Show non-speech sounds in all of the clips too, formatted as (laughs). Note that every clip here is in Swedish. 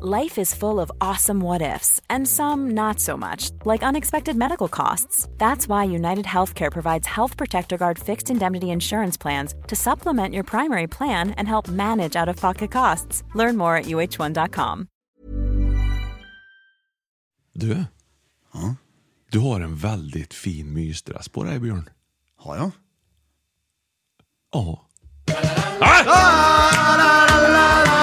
Life is full of awesome what ifs, and some not so much, like unexpected medical costs. That's why United Healthcare provides Health Protector Guard fixed indemnity insurance plans to supplement your primary plan and help manage out of pocket costs. Learn more at uh1.com. Du, du har en väldigt fin mysdress på dig, Björn. Har jag? Ja.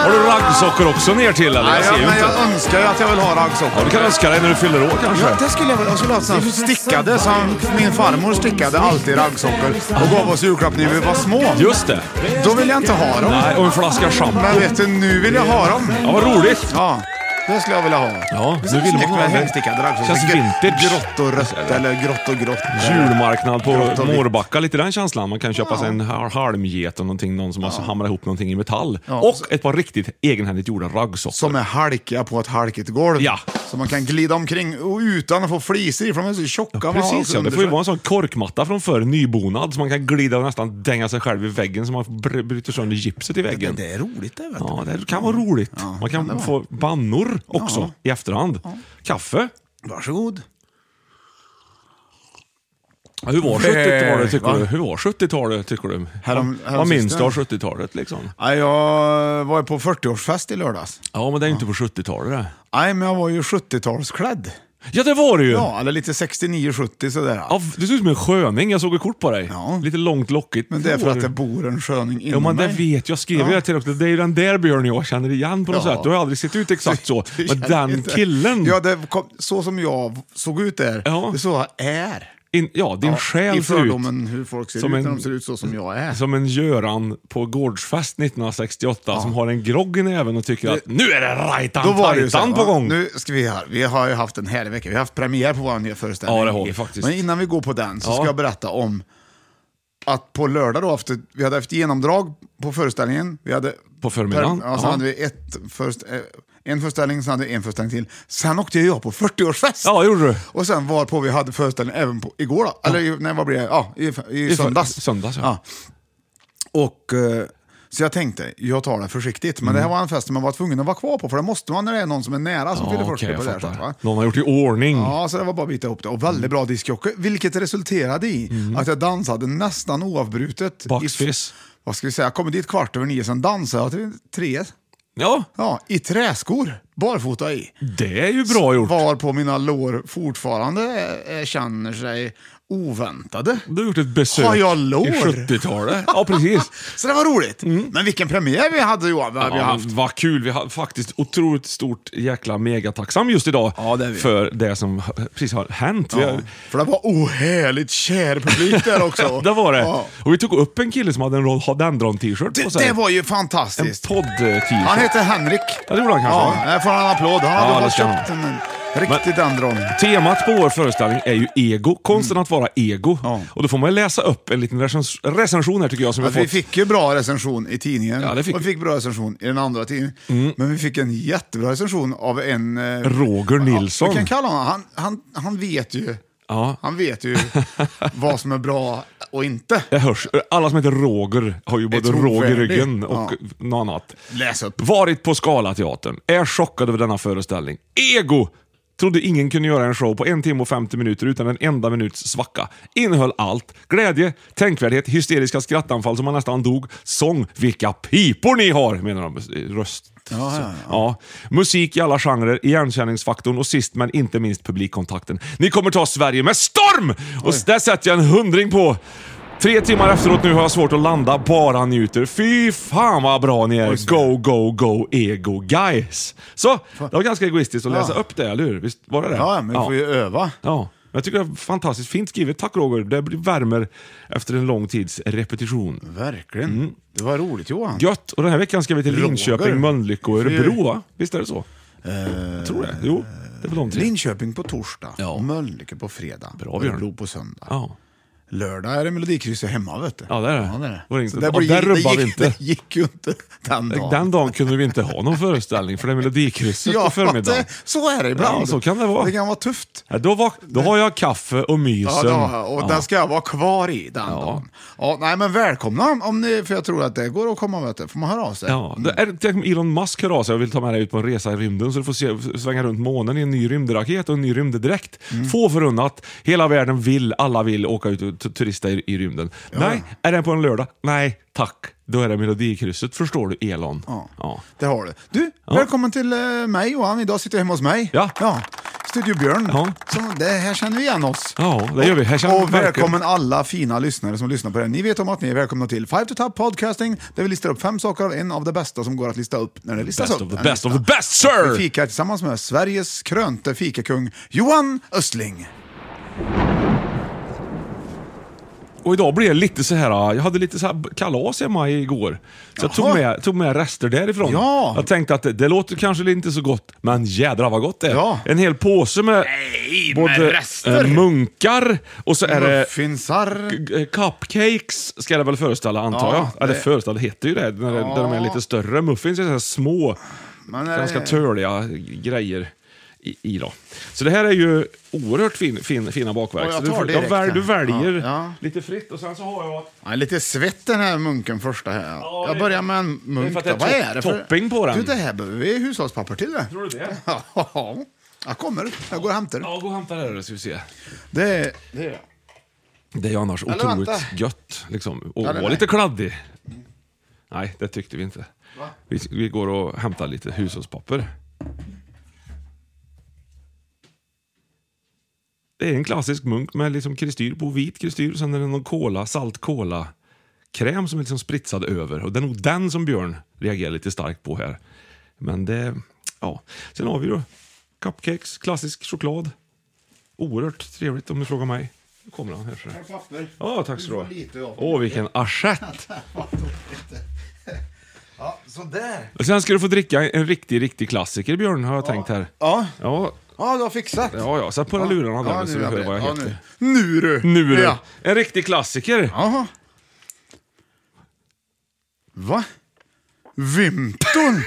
Har du raggsockor också ner till eller? Nej, Jag ser jag, ju men inte. jag önskar ju att jag vill ha raggsockor. Ja, du kan önska dig när du fyller år Ja, kanske. det skulle jag väl. Jag skulle ha sådana stickade som min farmor stickade alltid raggsockor och gav oss i julklapp när vi var små. Just det. Då vill jag inte ha dem. Nej, och en flaska Men shampoo. vet du, nu vill jag ha dem. Ja, vad roligt. Ja, det skulle jag vilja ha. Ja, nu vill Snyggt man ha med det. hemstickade raggsockor. Känns vintage. Grått och rött eller grått och grått. Julmarknad Grått på och vitt. Mårbacka, lite den känslan. Man kan köpa sig en hal- halmget och någonting, någon som har hamrat ihop någonting i metall. Och ett par riktigt egenhändigt gjorda raggsockor. Som är halkiga på ett halkigt golv. Ja. Så man kan glida omkring och utan att få flisor i, för de är så tjocka. man har Precis också ja, det får ju under- vara en sån korkmatta från förr, nybonad, så man kan glida och nästan dänga sig själv i väggen så man br- bryter sönder gipset i det, väggen. det är roligt det. Vet du. Ja, det kan vara roligt. man kan, få bannor också i efterhand. Kaffe. Varsågod. Ja, Hur var Nej, 70-talet tycker va? du? Hur var 70-talet tycker du? Härom- Vad- Vad minns häromsistens. du av 70-talet liksom? Ja, jag var ju på 40-årsfest i lördags. Ja, men det är ju inte på 70-talet det. Nej, men jag var ju 70-talsklädd. Ja, det var det ju! Ja. Ja, eller lite 69-70 sådär. f- du ser ut som en sköning, jag såg ett kort på dig. Ja. Lite långt lockigt Men det är för hår. att det bor en sköning inom Ja, men det mig. vet jag. Jag skrev ju Ja. det till också. Det är ju den där Björn jag känner igen på något Ja. sätt. Du har aldrig sett ut exakt så. (laughs) Det Men känns den inte. killen, Ja, det kom, så som jag såg ut där, Ja. det är så jag är. in, ja, din Ja, I själ ser ut fördomen hur folk ser som ut en- när de ser ut så som jag är. som en Göran på gårdsfest 1968 som har en grogg i näven och tycker att nu är det rajtan Då var det ju så här, tajtan va? på gång. Nu ska vi här. Vi har ju haft en härlig vecka. Vi har haft premiär på vår nya föreställning. Ja, det har vi faktiskt. Men innan vi går på den så Ja. ska jag berätta om att på lördag då, efter, vi hade haft genomdrag på föreställningen. Vi hade På förmiddagen, Per, ja, sen ja. hade vi ett först, eh, en föreställning, sen hade vi en föreställning till. Sen åkte jag på 40-årsfest. Ja, gjorde du. Och sen var på vi hade föreställning även på, igår då. Eller i- nej, vad blir det? Ja, i, i, för- söndags. söndags, ja. Och, eh, så jag tänkte, jag tar det försiktigt. Men det här var en fest som man var tvungen att vara kvar på, för det måste man när det är någon som är nära som Mm. Ja, fyller okej, 40 på jag det här fattar. Mm. sättet. Va? Någon har gjort i ordning. Ja, så det var bara att bita ihop det. Och väldigt bra diskjockey, vilket resulterade i Mm. att jag dansade nästan oavbrutet. i- Baksfiss. Vad ska vi säga, jag kom dit kvart över nio, sen dansade jag till tre. Ja, Ja, i träskor, barfota i. det är ju bra gjort. Var på mina lår fortfarande eh, känner sig oväntade. Du har gjort ett besök Har jag lår? i 70-talet. Ja, (laughs) precis. Så det var roligt. Men vilken premiär vi hade Johan, vad vi har Mm. Ja, haft. men vad kul. Vi har faktiskt otroligt stort jäkla megatacksam just idag Ja, det är vi. för det som precis har hänt. Vi Ja, har, för det var ohärligt kär publik där (laughs) också. Det var det. Ja. Och vi tog upp en kille som hade en rhododendron-t-shirt på Det, sig. det var ju en eh, fantastiskt. podd-t-shirt. Han heter Henrik. Ja, det gjorde han kanske. Ja, här får han en applåd. Han Ja, hade det fått ska köpt en, en riktig dendron. Temat på vår föreställning är ju ego, konsten att vara ego. Mm. Ja. Och då får man ju läsa upp en liten recens- recension här tycker jag som vi Att vi har fått. fick ju bra recension i tidningen Ja, det fick och vi vi. Mm. fick bra recension i den andra tidningen. Men vi fick en jättebra recension av en... eh, Roger Nilsson. Ja, vi kan kalla honom. Han, han, han vet ju, Ja. han vet (laughs) ju vad som är bra och inte. Det hörs. Alla som heter Roger har ju både råg i trovärdigt. ryggen och Ja. något annat. Läs upp. Varit på Scalateatern, är chockad över denna föreställning. Ego! Trodde ingen kunde göra en show på en timme och 50 minuter utan en enda minuts svacka. Innehöll allt. Glädje, tänkvärdhet, hysteriska skrattanfall som man nästan dog. Sång. Vilka pipor ni har! Menar de. Röst. Ja, ja, ja. Ja. Musik i alla genrer, igenkänningsfaktorn och sist men inte minst publikkontakten. Ni kommer ta Sverige med storm! Och där sätter jag en hundring på. Tre timmar efteråt nu har jag svårt att landa, bara njuter. Fy fan vad bra ni är! Go, go, go, ego guys! Så, det var ganska egoistiskt att läsa upp det, eller hur? Visst var det det? Ja, men vi får ju öva. Ja. Jag tycker det är fantastiskt fint skrivet. Tack Roger. Det blir värmer efter en lång tids repetition. Verkligen. Mm. Det var roligt Johan. Gött! Och den här veckan ska vi till Roger. Linköping, Mölnlycke och Vi får Örebro, ju- Eh, va? Visst är det så? Tror det. Jo, det är väl de tre. Linköping på torsdag, Ja. Mölnlycke på fredag, Bra, Björn. Örebro på söndag. Ja. Lördag är det Melodikrysset hemma vet du. Ja, det är det. Ja, det, är det. Och ring- Så och blir- där rubbar gick, vi inte. Det (laughs) gick ju inte den dagen. Den dagen kunde vi inte ha någon föreställning för det är Melodikrysset på förmiddagen. det- så är det ibland. Ja, så kan det vara. Det kan vara tufft. Ja, då, var, då har jag kaffe och Ja, mysen. det har jag. och Ja. den ska jag vara kvar i den dagen. Ja, nej, men välkomna om ni, för jag tror att det går att komma vet du. Får man höra av sig? Ja, det är, tänk om Elon Musk hör av sig och vill ta med dig ut på en resa i rymden så du får se, svänga runt månen i en ny rymdraket och en ny rymddräkt. Mm. Få förunnat. Hela världen vill, alla vill åka ut och tu- turista i, i rymden. Nej, är det på en lördag? Nej, tack. Då är det Melodikrysset, förstår du Elon. Ja. Ja. Det har du. Du, välkommen till eh, mig Johan. Idag sitter jag hemma hos mig. Ja. Studio Björn. Ja. Så det här känner vi igen oss. Ja, det gör vi. Här känner vi och verkligen- välkommen alla fina lyssnare som lyssnar på det här. Ni vet om att ni är välkomna till Five to Top Podcasting där vi listar upp fem saker av en av de bästa som går att lista upp när det listas Best upp. of the En best of lista. the best, sir! Vi fikar tillsammans med Sveriges krönte fikakung Johan Östling. Och idag blev det lite så här, jag hade lite så här kalas hemma igår. Så jag tog Jaha. med, tog med rester därifrån. Ja. Jag tänkte att det, det låter kanske inte så gott, men jädrar vad gott det är. Ja. En hel påse med både eh, munkar och så är det Muffinsar. eh, cupcakes, ska det väl föreställa antar Ja, jag. Eller det- föreställa, det heter ju det, när, det- när de är lite större. Muffins är så här små, Men är ganska det- törliga grejer. I, i då. Så det här är ju oerhört fin, fin, fina bakverk. Och jag Så tar du, direkt väl, här. du väljer Ja, ja. lite fritt och sen så har jag Ja, lite svett den här munken första här. Ja, jag det- börjar med en munk. det är för att då. det är Vad to- är det för... topping på den. Du, det här behöver vi hushållspapper till. Det. Tror du det? (laughs) Ja, jag kommer. Jag går och hämtar det. Ja, gå och hämta det här då, ska vi se. Det är... Det är... Det är ju annars Eller otroligt vänta. gött. Liksom. Och Ja, det vara där. lite kladdig. Nej, det tyckte vi inte. Vi, vi går och hämtar lite hushållspapper. Det är en klassisk munk med liksom kristyr på, vit kristyr. Sen är det någon cola, salt cola kräm som är liksom spritsad över. Och det är nog den som Björn reagerar lite starkt på här. Men det, ja. Sen har vi då cupcakes, klassisk choklad. Oerhört trevligt om du frågar mig. Nu kommer han här. Här papper. Ja, tack så du Du får lite ha. av Åh, vilken (laughs) assiett! Ja, sådär. Och Sen ska du få dricka en riktig, riktig klassiker, Björn, har jag tänkt här. Ja. Ja, Ja, du har fixat. ja, ja. sätt på dig lurarna där nu så nu du är hör vad jag beredd. heter. nu. nu du! Nu du! Ja. En riktig klassiker! Jaha. Va? (laughs) Vimton!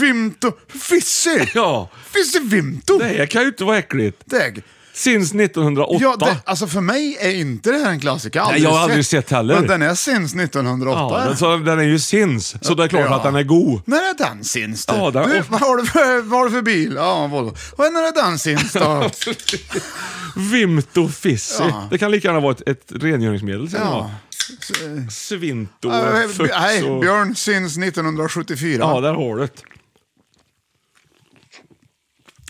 Vimton! Fisse! Ja. Fisse Vimton! Det här kan ju inte vara äckligt. Dägg. Sinns 1908. Ja, det, alltså för mig är inte det här en klassiker. Jag har Nej, jag har aldrig sett heller. Men den är sinns 1908. Ja, den, så, den är ju sinns, så det är klart Ja. att den är god. När är den sinns du? Ja, den- du vad, har du för, vad har du för bil? Ja, Volvo. Och när är den (laughs) sinns då? Vimto Fissi. Ja. Det kan lika gärna vara ett, ett rengöringsmedel. Sen Ja. ja. Svinto, Äh, fux Nej, och... Björn sinns 1974. Ja, där har du det.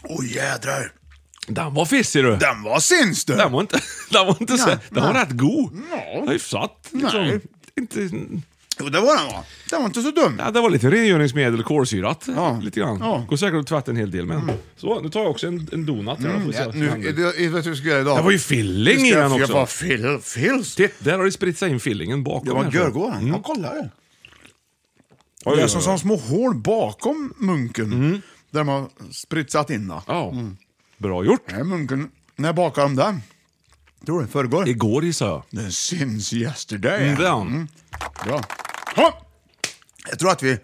Åh jädrar. Den var fissig du. Den var sinns du. Den var inte... (laughs) Den var, inte så, Nej, den var nej. rätt god. Ja. Hyfsat. Liksom. Nej. Inte, Jo, det var den va? Den var inte så dum. ja, det var lite rengöringsmedel, kolsyrat. Ja. Lite grann. Ja. Mm. Går säkert att tvätta en hel del med. Så, nu tar jag också en, en donut här. Mm, Ja, nu, är det, är det vad du ska göra idag? det var ju filling i den Jag också. bara fill, fills. Titt, där har det spritt sig in fillingen bakom. Det var här, så. görgården. Ja, kolla det. Mm. Oj, Det oj, är oj. Mm. som, som små hål bakom munken. Där de har spritsat in då. Ja. Bra gjort. Nej, munken. När bakade de den? Tror du? Förrgår? Igår gissade jag. Den syns yesterday. Mm, den. Bra. Ha! Jag tror att vi...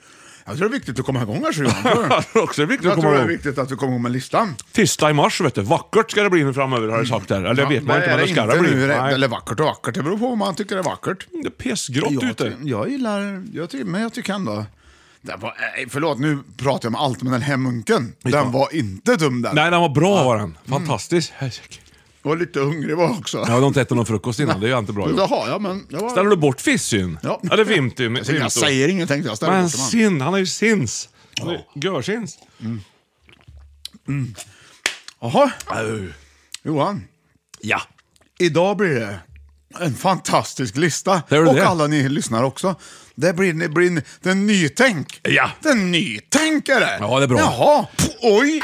Jag tror det är viktigt att komma igång här, så Johan. Tror du? (laughs) Ja, (laughs) det är också viktigt att Jag tror komma det är ihåg. viktigt att vi kommer ihåg med listan. Tisdag i mars, vet du. Vackert ska det bli nu framöver, har jag sagt här. Eller det vet man Ja, inte, men det ska det inte bli. nu, Nej. Eller vackert och vackert, det beror på vad man tycker är vackert. Det är pissgrått Jag, ute. jag gillar... Jag tycker, men jag tycker ändå... Den var, eh, förlåt, nu pratar jag om allt, men den här munken, den var inte dum den. Nej, den var bra var den. Fantastisk. Mm. Jag var lite hungrig var också. Jag hade inte ätit någon frukost innan, det är ju inte bra gjort. Jaha, ja men... Jag var... Ställer du bort fissyn? Ja. Eller vimtyn? Jag, jag säger inget tänkte jag. Ställer Men bort dem. sin, han har ju sins. Han har ju Görsins. Jaha. Johan, Ja. idag blir det en fantastisk lista. Det är väl och det. alla ni lyssnare också. Det blir, det blir en, det är en nytänk. Ja. Det är en nytänk är det. Ja, det är bra. Jaha. Pff, oj.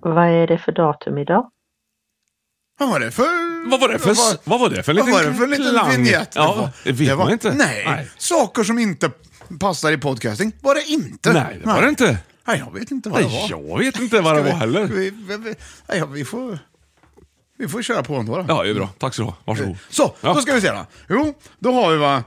Vad är det för datum idag? Vad var det för... Vad var det för, vad, var det för en Vad liten var det för en liten klang? vinjett? Ja, det vet var, man inte. Nej, saker som inte passar i podcasting var det inte. Nej, det var det inte. Nej, jag vet inte vad det Nej, var. jag vet inte vad det var heller. Vi, vi, vi, nej, vi, får, vi får köra på ändå då. Ja, det är bra. Tack så du ha. Varsågod. Eh, Så, Ja. då ska vi se då. Jo, då har vi va...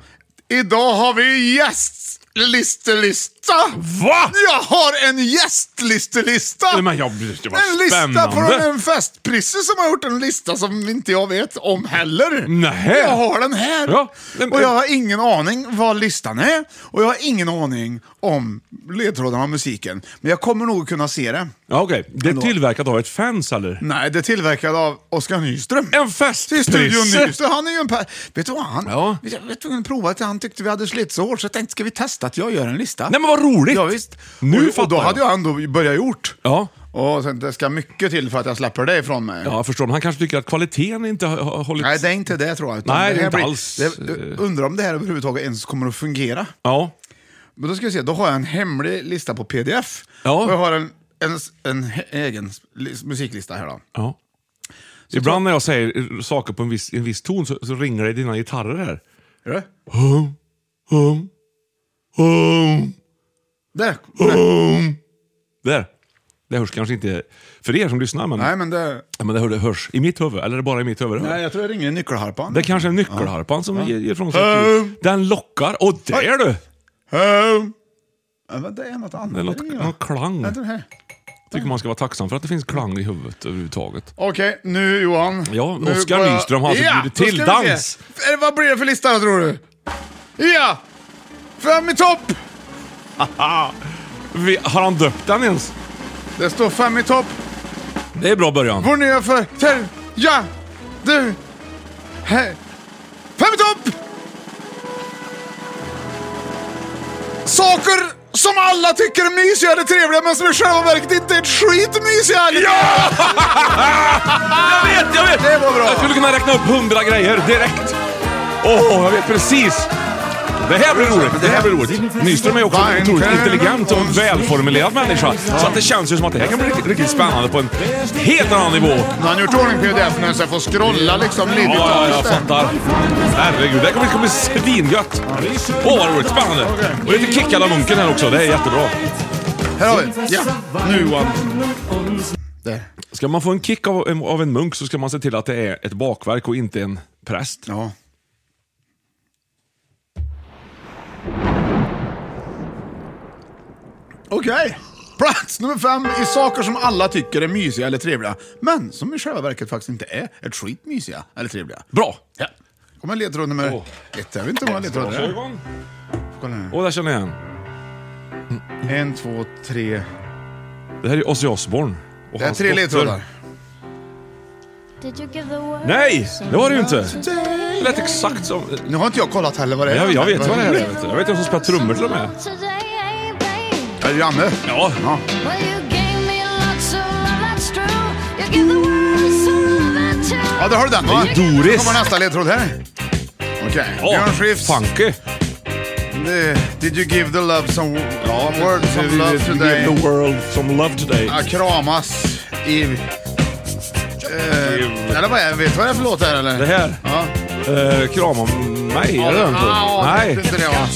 Idag har vi gästlistelista! Va? Jag har en gästlistelista! Nej, men jag, det var en lista spännande. från en festprisse som har gjort en lista som inte jag vet om heller. Nähä. Jag har den här. Ja, men- Och jag har ingen aning vad listan är. Och jag har ingen aning om ledtrådarna och musiken. Men jag kommer nog kunna se det. Ja, okej. Det är Ändå. Mm. tillverkat av ett fans, eller? Nej, det är tillverkad av Oskar Nyström. En Till festprisse! Studion Nyström. Han är ju en per... Vet du vad? Han, Ja. Jag var tvungen att prova att han tyckte vi hade slitsår, så jag tänkte ska vi testa att jag gör en lista? Nej, men vad roligt! Ja, visst. Nu och, och fattar då jag. hade jag ändå börjat gjort. Ja. Och sen, det ska mycket till för att jag släpper det ifrån mig. Ja, jag förstår. Men han kanske tycker att kvaliteten inte har, har hållit... Nej, det är inte det tror jag. utan Nej, det är här inte alls. eh. Det, undrar om det här överhuvudtaget ens kommer att fungera. Ja. Men då ska vi se, då har jag en hemlig lista på pdf. Ja. Och jag har en, en, en he- egen lis- musiklista här då. ja. Ibland när jag säger saker på en viss, en viss ton så, så ringer det i dina gitarrer här. Är det? Hum, hum, Där! hum. Där. Det hörs kanske inte för er som lyssnar, men, Nej, men det... Ja, men det hör- det hörs i mitt huvud. Eller är det bara i mitt huvud? Nej, jag tror jag ringer i nyckelharpan. Det är kanske är nyckelharpan som ger, ger från sig Hum. Den lockar. Och där du! Hum. Ja, men det är något annat. Det är något, ringer jag. någon klang. Vänta den här. tycker man ska vara tacksam för att det finns klang i huvudet överhuvudtaget. Okej, nu Johan. Ja, Nu Oskar går jag- Nyström har alltså bjudit då till ska vi se. dans. F- eh, Vad blir det för lista då tror du? Ja! Fem i topp! Vi, har han döpt den ens? Det står fem i topp. Det är bra början. Vår nya för... Ter, ja! Du! He, fem i topp! Saker som alla tycker är mysiga eller trevliga men som i själva verket inte är ett skit mysiga. Ja! Jag vet, jag vet! Det var bra. Jag skulle kunna räkna upp hundra grejer direkt. Åh, jag vet precis. Det här blir roligt. Det här blir roligt. Nyström är också en otroligt intelligent och välformulerad människa. Så att det känns ju som att det här kan bli riktigt, riktigt spännande på en helt annan nivå. Nu har han gjort ordning pdf-en så jag får scrolla liksom lite. Ja, ja, jag där. fattar. Herregud, det här kommer det kommer bli svingött. Åh, vad roligt. Spännande. Och lite kickad av munken här också. Det är jättebra. Här har vi. Ja, nu Johan. Där. Ska man få en kick av en, av en munk så ska man se till att det är ett bakverk och inte en präst. Ja. Okej. Plats nummer fem i saker som alla tycker är mysiga eller trevliga, men som i själva verket faktiskt inte är ett skit mysiga eller trevliga. Bra! Ja. Kommer ledtråd nummer ett. Jag vet inte hur många ledtrådar det är. Kolla här. Och där känner jag en. En, två, tre. Det här är Ozzy Osbourne. och Det är hans tre dotter. ledtrådar. Nej, det var det ju inte. Det lät exakt som... Nu har inte jag kollat heller vad det är. Jag, jag vet vad det här är. vet du. Jag vet vem som spelar trummor till och med. Är det Janne? Ja. Ja. Ja, där har du den va? Det är ju Doris. Så kommer nästa ledtråd här. Okej. Ja, Björn Skifs. Funky. Eh, Did you give the love some ja, words of love today? Give the world some love today. Ja, kramas i... Eh, eller vad är Vet du vad det är för låt här eller? Det här. Ja. Ah, Eh, krama mig, är det den? Ja, Nej, det är inte det, va?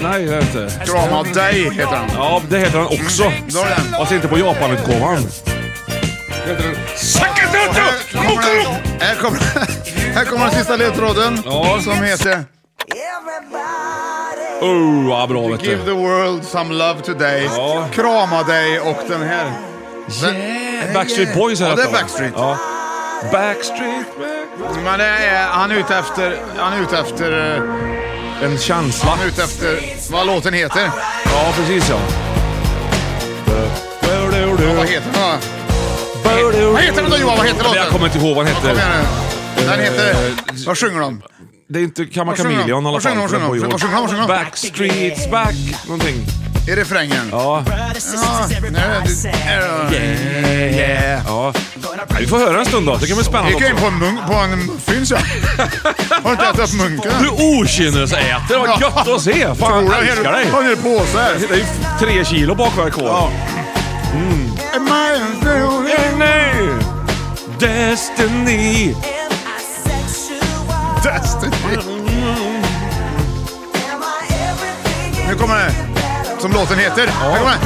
nej det är det inte. Krama dig heter han. Ja, det heter den också. Mm, Då är den. Fast inte på Japanutgåvan. Det heter den... Sakatata! Här kommer den- Här kommer, (laughs) här kommer den sista ledtråden Ja. som heter Oh, ja, bra vet Give du. the world some love today. Ja. Krama dig och den här. Den- Backstreet Boys är Ja, det är va? Backstreet. Ja. Backstreet, back- Men det är, han är ute efter, han är ute efter, eh, En känsla. han är ute efter vad låten heter. Ja, precis ja. Vad heter den då? Vad heter den då Johan? Vad heter låten? Jag kommer inte ihåg vad den Kom igen heter. nu. Eh, Den heter, vad sjunger de? Det är inte Kamma Vad sjunger de? Chameleon i alla Vad fall. sjunger de? för den Vad var ju- sjunger de? Vad sjunger de? Backstreets back, någonting. I refrängen? Ja, Ja, eh, nu är det- Yeah. ja. Ja, Vi får höra en stund då. Det kan bli spännande Gick jag in också. på en munk, på en muffins (laughs) jag. Har du inte ätit upp munken? Du okynnesäter, vad gött att se! Fan, jag älskar dig! Har du påse här? Det är ju tre kilo bakverk kvar. Ja. Am I a fool? Nej! Destiny! Destiny. Nu kommer det. Som låten heter. Här kommer den.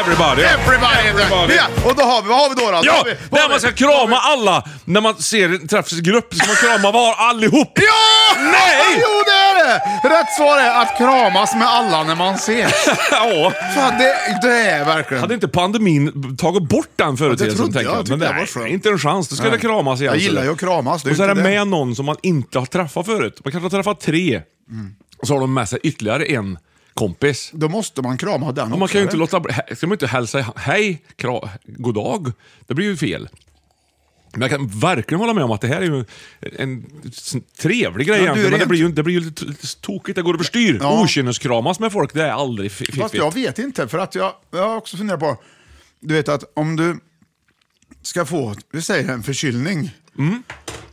Everybody! Everybody heter den. Everybody. Ja, och då har vi, vad har vi då? då? Då Ja! har vi- vad Där har man vi? ska krama alla! När man ser en träffas i grupp ska man krama var allihop! (laughs) Ja! Nej! Jo, det är det! Rätt svar är att kramas med alla när man (laughs) ses. Ja! Fan, det, det är verkligen... Hade inte pandemin tagit bort den företeelsen? trodde tänker jag. jag. Jag tyckte det var nej, skönt. Inte en chans. Då ska Nej. det kramas igen. alltså. Jag gillar ju att kramas, det är Och så ju är det inte det. med någon som man inte har träffat förut. Man kanske har träffat tre. Och så har de med sig ytterligare en kompis. Då måste man krama den Och man också, kan ju inte eller? låta bli- he- ska man inte hälsa hej, kra, god dag. Det blir ju fel. Men jag kan verkligen hålla med om att det här är ju en, en s- trevlig grej Ja, du egentligen. är Men det rent. blir ju, det blir ju lite t- tokigt, det går överstyr. Ja. Okynneskramas med folk, det är aldrig fi- Fast fiffigt. jag vet inte, för att jag, jag har också funderat på, du vet att om du ska få, vi säger en förkylning, Mm.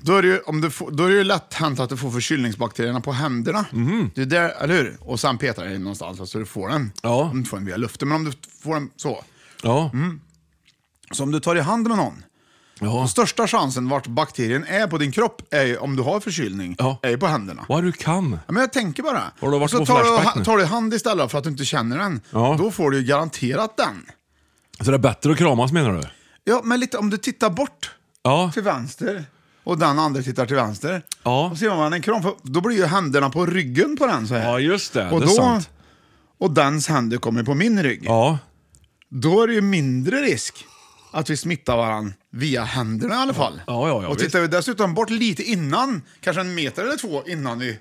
då, är det ju, om du får, då är det ju lätt hänt att du får förkylningsbakterierna på händerna. Mm. Det är där, eller hur? Och sen petar det dig någonstans så du får den. Ja. Om du inte får den via luften, men om du får den så. Ja. Mm. Så om du tar i hand med någon, ja. den största chansen vart bakterien är på din kropp, är ju, om du har förkylning, Ja. är ju på händerna. Vad du kan. Ja, men jag tänker bara. Har du varit så på tar Flashback du, nu? tar du i hand istället för att du inte känner den, Ja. då får du ju garanterat den. Så det är bättre att kramas menar du? Ja, men lite om du tittar bort Ja. till vänster och den andra tittar till vänster. Ja. Och ser man en kram, för då blir ju händerna på ryggen på den så här. Ja, just det. Och det är då- sant. Och dens händer kommer på min rygg. Ja. Då är det ju mindre risk att vi smittar varandra via händerna i alla fall. Ja, ja, ja, och visst. tittar vi dessutom bort lite innan, kanske en meter eller två innan vi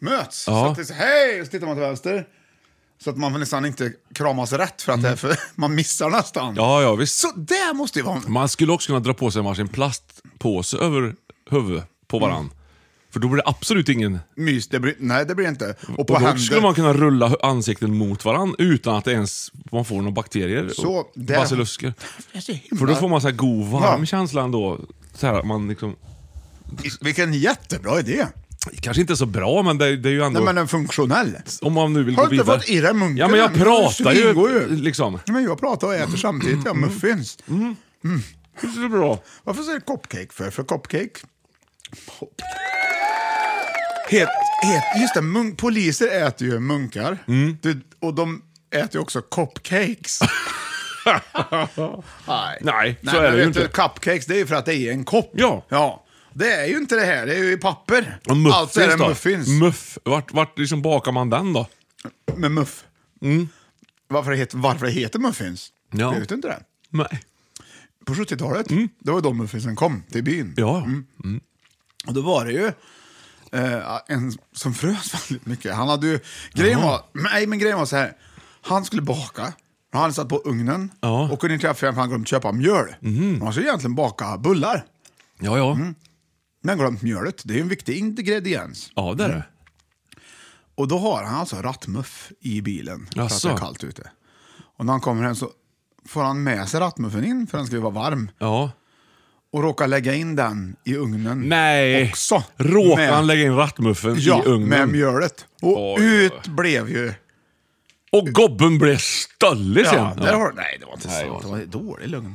möts. Ja. Så att det är så, hej! Och så tittar man till vänster. Så att man nästan inte kramas rätt för att det är för, (laughs) man missar nästan. Mm. ja, ja visst. Så det måste ju vara... Man skulle också kunna dra på sig varsin plastpåse över huvudet på Mm. varann. För då blir det absolut ingen... Mys, det blir, nej det blir inte. Och på Och då händer. skulle man kunna rulla hu- ansikten mot varann utan att ens man får några bakterier Så, och där- basilusker. Det är så himla- För då får man så här god, varm Ja. känsla ändå. Så här, att man liksom... Vilken jättebra idé. Kanske inte så bra, men det, det är ju ändå... Nej men en funktionell. om man nu vill Har gå du inte vidare. fått i dig munken Ja, men jag än? pratar Du ingår ju ju. liksom. Men jag pratar och äter samtidigt, Mm. jag muffins. Det är så (laughs) bra. Varför säger du cupcake för? För cupcake? Het. Ät- Just det, mun- poliser äter ju munkar. Mm. Du, och de äter ju också (laughs) cupcakes. Nej. Nej, så men är det ju vet inte. du, Cupcakes, det är ju för att det är en kopp. Ja. ja. Det är ju inte det här, det är ju i papper. Och muffins Alltså är det då? muffins. Muff. Vart, vart liksom bakar man den då? med muff. Varför, det heter, varför det heter muffins? Mm. Ja. Jag vet inte det. Nej. På 70-talet, det var då muffinsen kom till byn. Ja. Och då var det ju eh, en som frös (laughs) väldigt mycket. Han hade ju, grejen var, nej men grejen var så här. Han skulle baka. Han hade satt på ugnen Ja. Mhm. och kunde inte göra för han glömt köpa mjöl. Mm. Han skulle egentligen baka bullar. Ja, ja. Mm. Men glömt mjölet, det är ju en viktig ingrediens. Ja, det är det. Och då har han alltså rattmuff i bilen för att det Jaså. är kallt ute. Och när han kommer hem så får han med sig rattmuffen in för den ska ju vara varm. Ja. Och råkar lägga in den i ugnen Nej. också. Råkade Med- han lägga in rattmuffen Ja, i ugnen? med mjölet. Och Oj, ut oj. blev ju... Och gobben blev stöllig Ja, sen. där har, nej, det var inte Nej, det sant. Det var dålig lögn.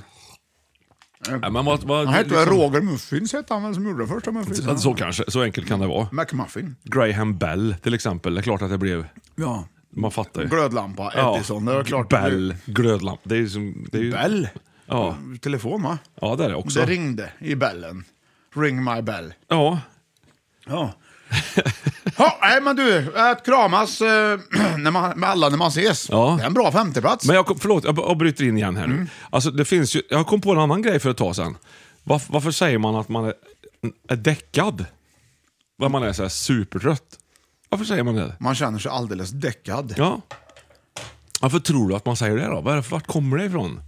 Ja, men vad, vad, Han hette väl liksom- Roger Muffins, hette han väl, som gjorde den första muffinsen? Så kanske, så enkelt kan det vara. McMuffin. Graham Bell till exempel, det är klart att det blev... Ja. Man fattar ju. Glödlampa, Edison, det var klart. Bell, glödlamp. Det är ju som... Det är ju, Bell? Ja. Telefon, va? ja, det är det också. Det ringde i bällen. Ring my bell. Ja. Ja. (laughs) ja, nej men du, att kramas eh, (clears throat) när man, med alla när man ses. Ja. Det är en bra femteplats. Men jag, kom- förlåt, jag b- jag bryter in igen här nu. Alltså, det finns ju, jag kom på en annan grej för ett tag sedan. Varf, varför säger man att man är, är däckad? När man är så här supertrött. Varför säger man det? Man känner sig alldeles däckad. Ja. Varför tror du att man säger det då? Var, vart kommer det ifrån?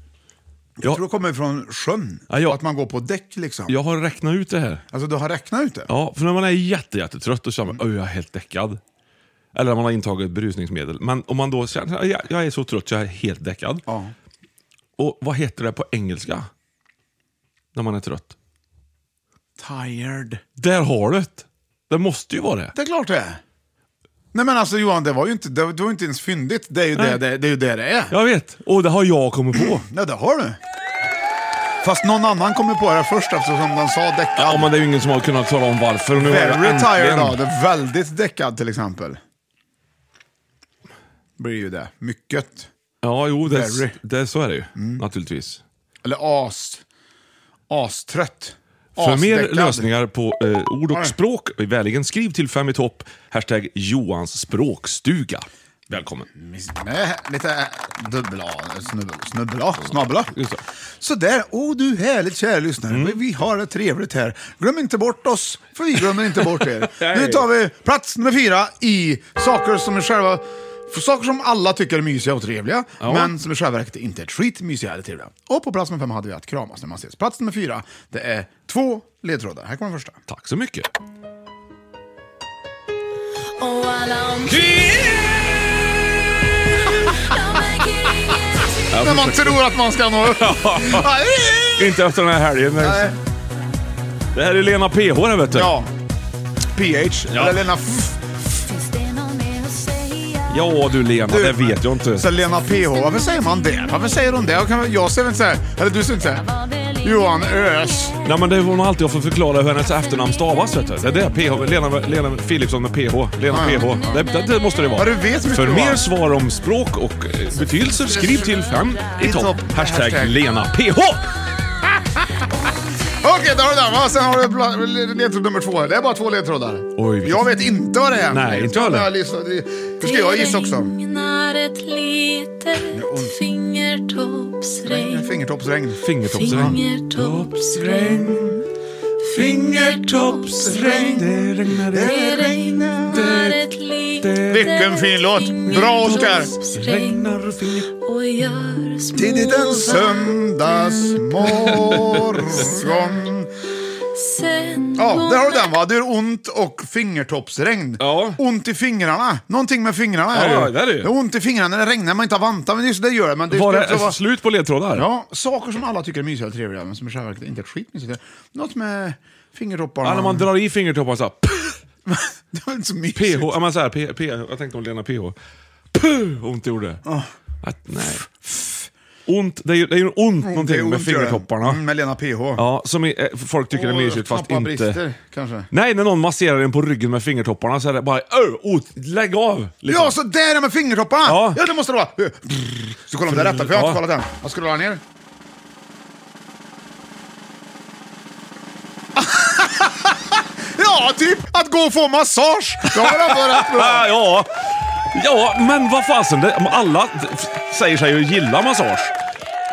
Jag Ja. tror det kommer från sjön. Ja, ja. Att man går på däck liksom. Jag har räknat ut det här. Alltså du har räknat ut det? Ja, för när man är jätte, jättetrött då känner man att jag är helt däckad. Eller när man har intagit berusningsmedel. Men om man då känner att jag, jag är så trött så jag är helt däckad. Ja. Och vad heter det på engelska? När man är trött. Tired. Där har du det! Det måste ju vara det. Det är klart det är. Nej men alltså Johan, det var ju inte, det, var- det var ju inte ens fyndigt. Det är ju det det, det, är ju det, det är. Jag vet, och det har jag kommit på. Nej, det har du. Fast någon annan kommer på det först eftersom den sa däckad. Ja, men det är ju ingen som har kunnat tala om varför. Och nu har jag Very tired äntligen- av det. Väldigt däckad till exempel. Blir ju det. Mycket. Ja, jo, det, Very. Mm. det, så är det ju naturligtvis. Eller as. Astrött. För mer Asdäckad. lösningar på eh, ord Oj. och språk, vänligen skriv till Fem i topp, hashtag Johans språkstuga. Välkommen. Nej, lite eh, dubbla, snubbla, snubbla, snabbla. Just det. Mm. Sådär, oh du härligt kära lyssnare, vi har det trevligt här. Glöm inte bort oss, för vi glömmer inte bort er. (laughs) Nej. nu tar vi plats nummer fyra i saker som är själva... för Saker som alla tycker är mysiga och trevliga, men som i själva verket inte är ett skit mysiga eller trevliga. Och på plats nummer fem hade vi att kramas när man ses. Plats nummer fyra, det är två ledtrådar. Här kommer den första. Tack så mycket. När man tror att man ska (laughs) nå upp. Inte efter den här helgen. Nej. Det här är Lena PH det vet du. Ja. PH, Ja. eller Lena F. Ja, du Lena, det vet jag inte. Så Lena PH, varför säger man det? Varför säger hon det? Jag, kan, jag ser väl inte såhär, eller du ser inte såhär, Johan Ös. Nej men det är hon alltid har fått förklara hur hennes efternamn stavas vet du. Det är det, PH, Lena, Lena Philipsson med PH. Lena Ja, ja. PH. Det, det, det måste det vara. Ja, du vet mycket, För va? mer svar om språk och eh, betydelser, skriv till fem i I topp. topp. Hashtag Hashtag. Lena PH. Okej, där har du den va. Sen har du pla- ledtråd nummer två. Det är bara två ledtrådar. Oj, vilket- jag vet inte vad det är. Nej, inte jag heller. Jag lyssnar- det- Nu ska jag gissa också. Regn, Fingertoppsregn. Fingertoppsregn. Fingertoppsregn. Fingertoppsregn. Det regnar, det regnar. Vilken fin låt. Bra Oskar. regnar finger... Tidigt en söndagsmorgon. Ja, där har du den va. Det är ont och fingertoppsregn. Ja. Ont i fingrarna. Någonting med fingrarna är Ja, ju. det är det ju. är ont i fingrarna när det regnar. Man inte har vantar. Men just det gör det. Men det Var ska det också vara- slut på ledtrådar? Ja, saker som alla tycker är mysiga och trevliga, men som i själva verket inte är skitmysiga. Något med fingertopparna. Ja, när man drar i fingertopparna så här, (laughs) det var inte så mysigt. PH, ja men så här, P, P, jag tänkte om Lena PH. Puh, ont det gjorde. Ah. Att, nej. Ont, det är ju det är ju ont någonting Det är ont, med gör det. fingertopparna. Mm, Med Lena PH. Ja, som är, eh, folk tycker är Och mysigt fast knappa inte... brister, kanske. Nej, när någon masserar en på ryggen med fingertopparna så är det bara "Ö, ot, lägg av! liksom. Ja, så där är med fingertopparna! Ja. Ja. det måste det vara. Så kolla om det är rätta, för jag har inte Ja. kollat än. Jag scrollar ner. (laughs) ja, typ att gå och få massage. Ja, det var rätt Ah, bra. ja. ja, men vad fasen, det, alla f- säger sig ju gilla massage.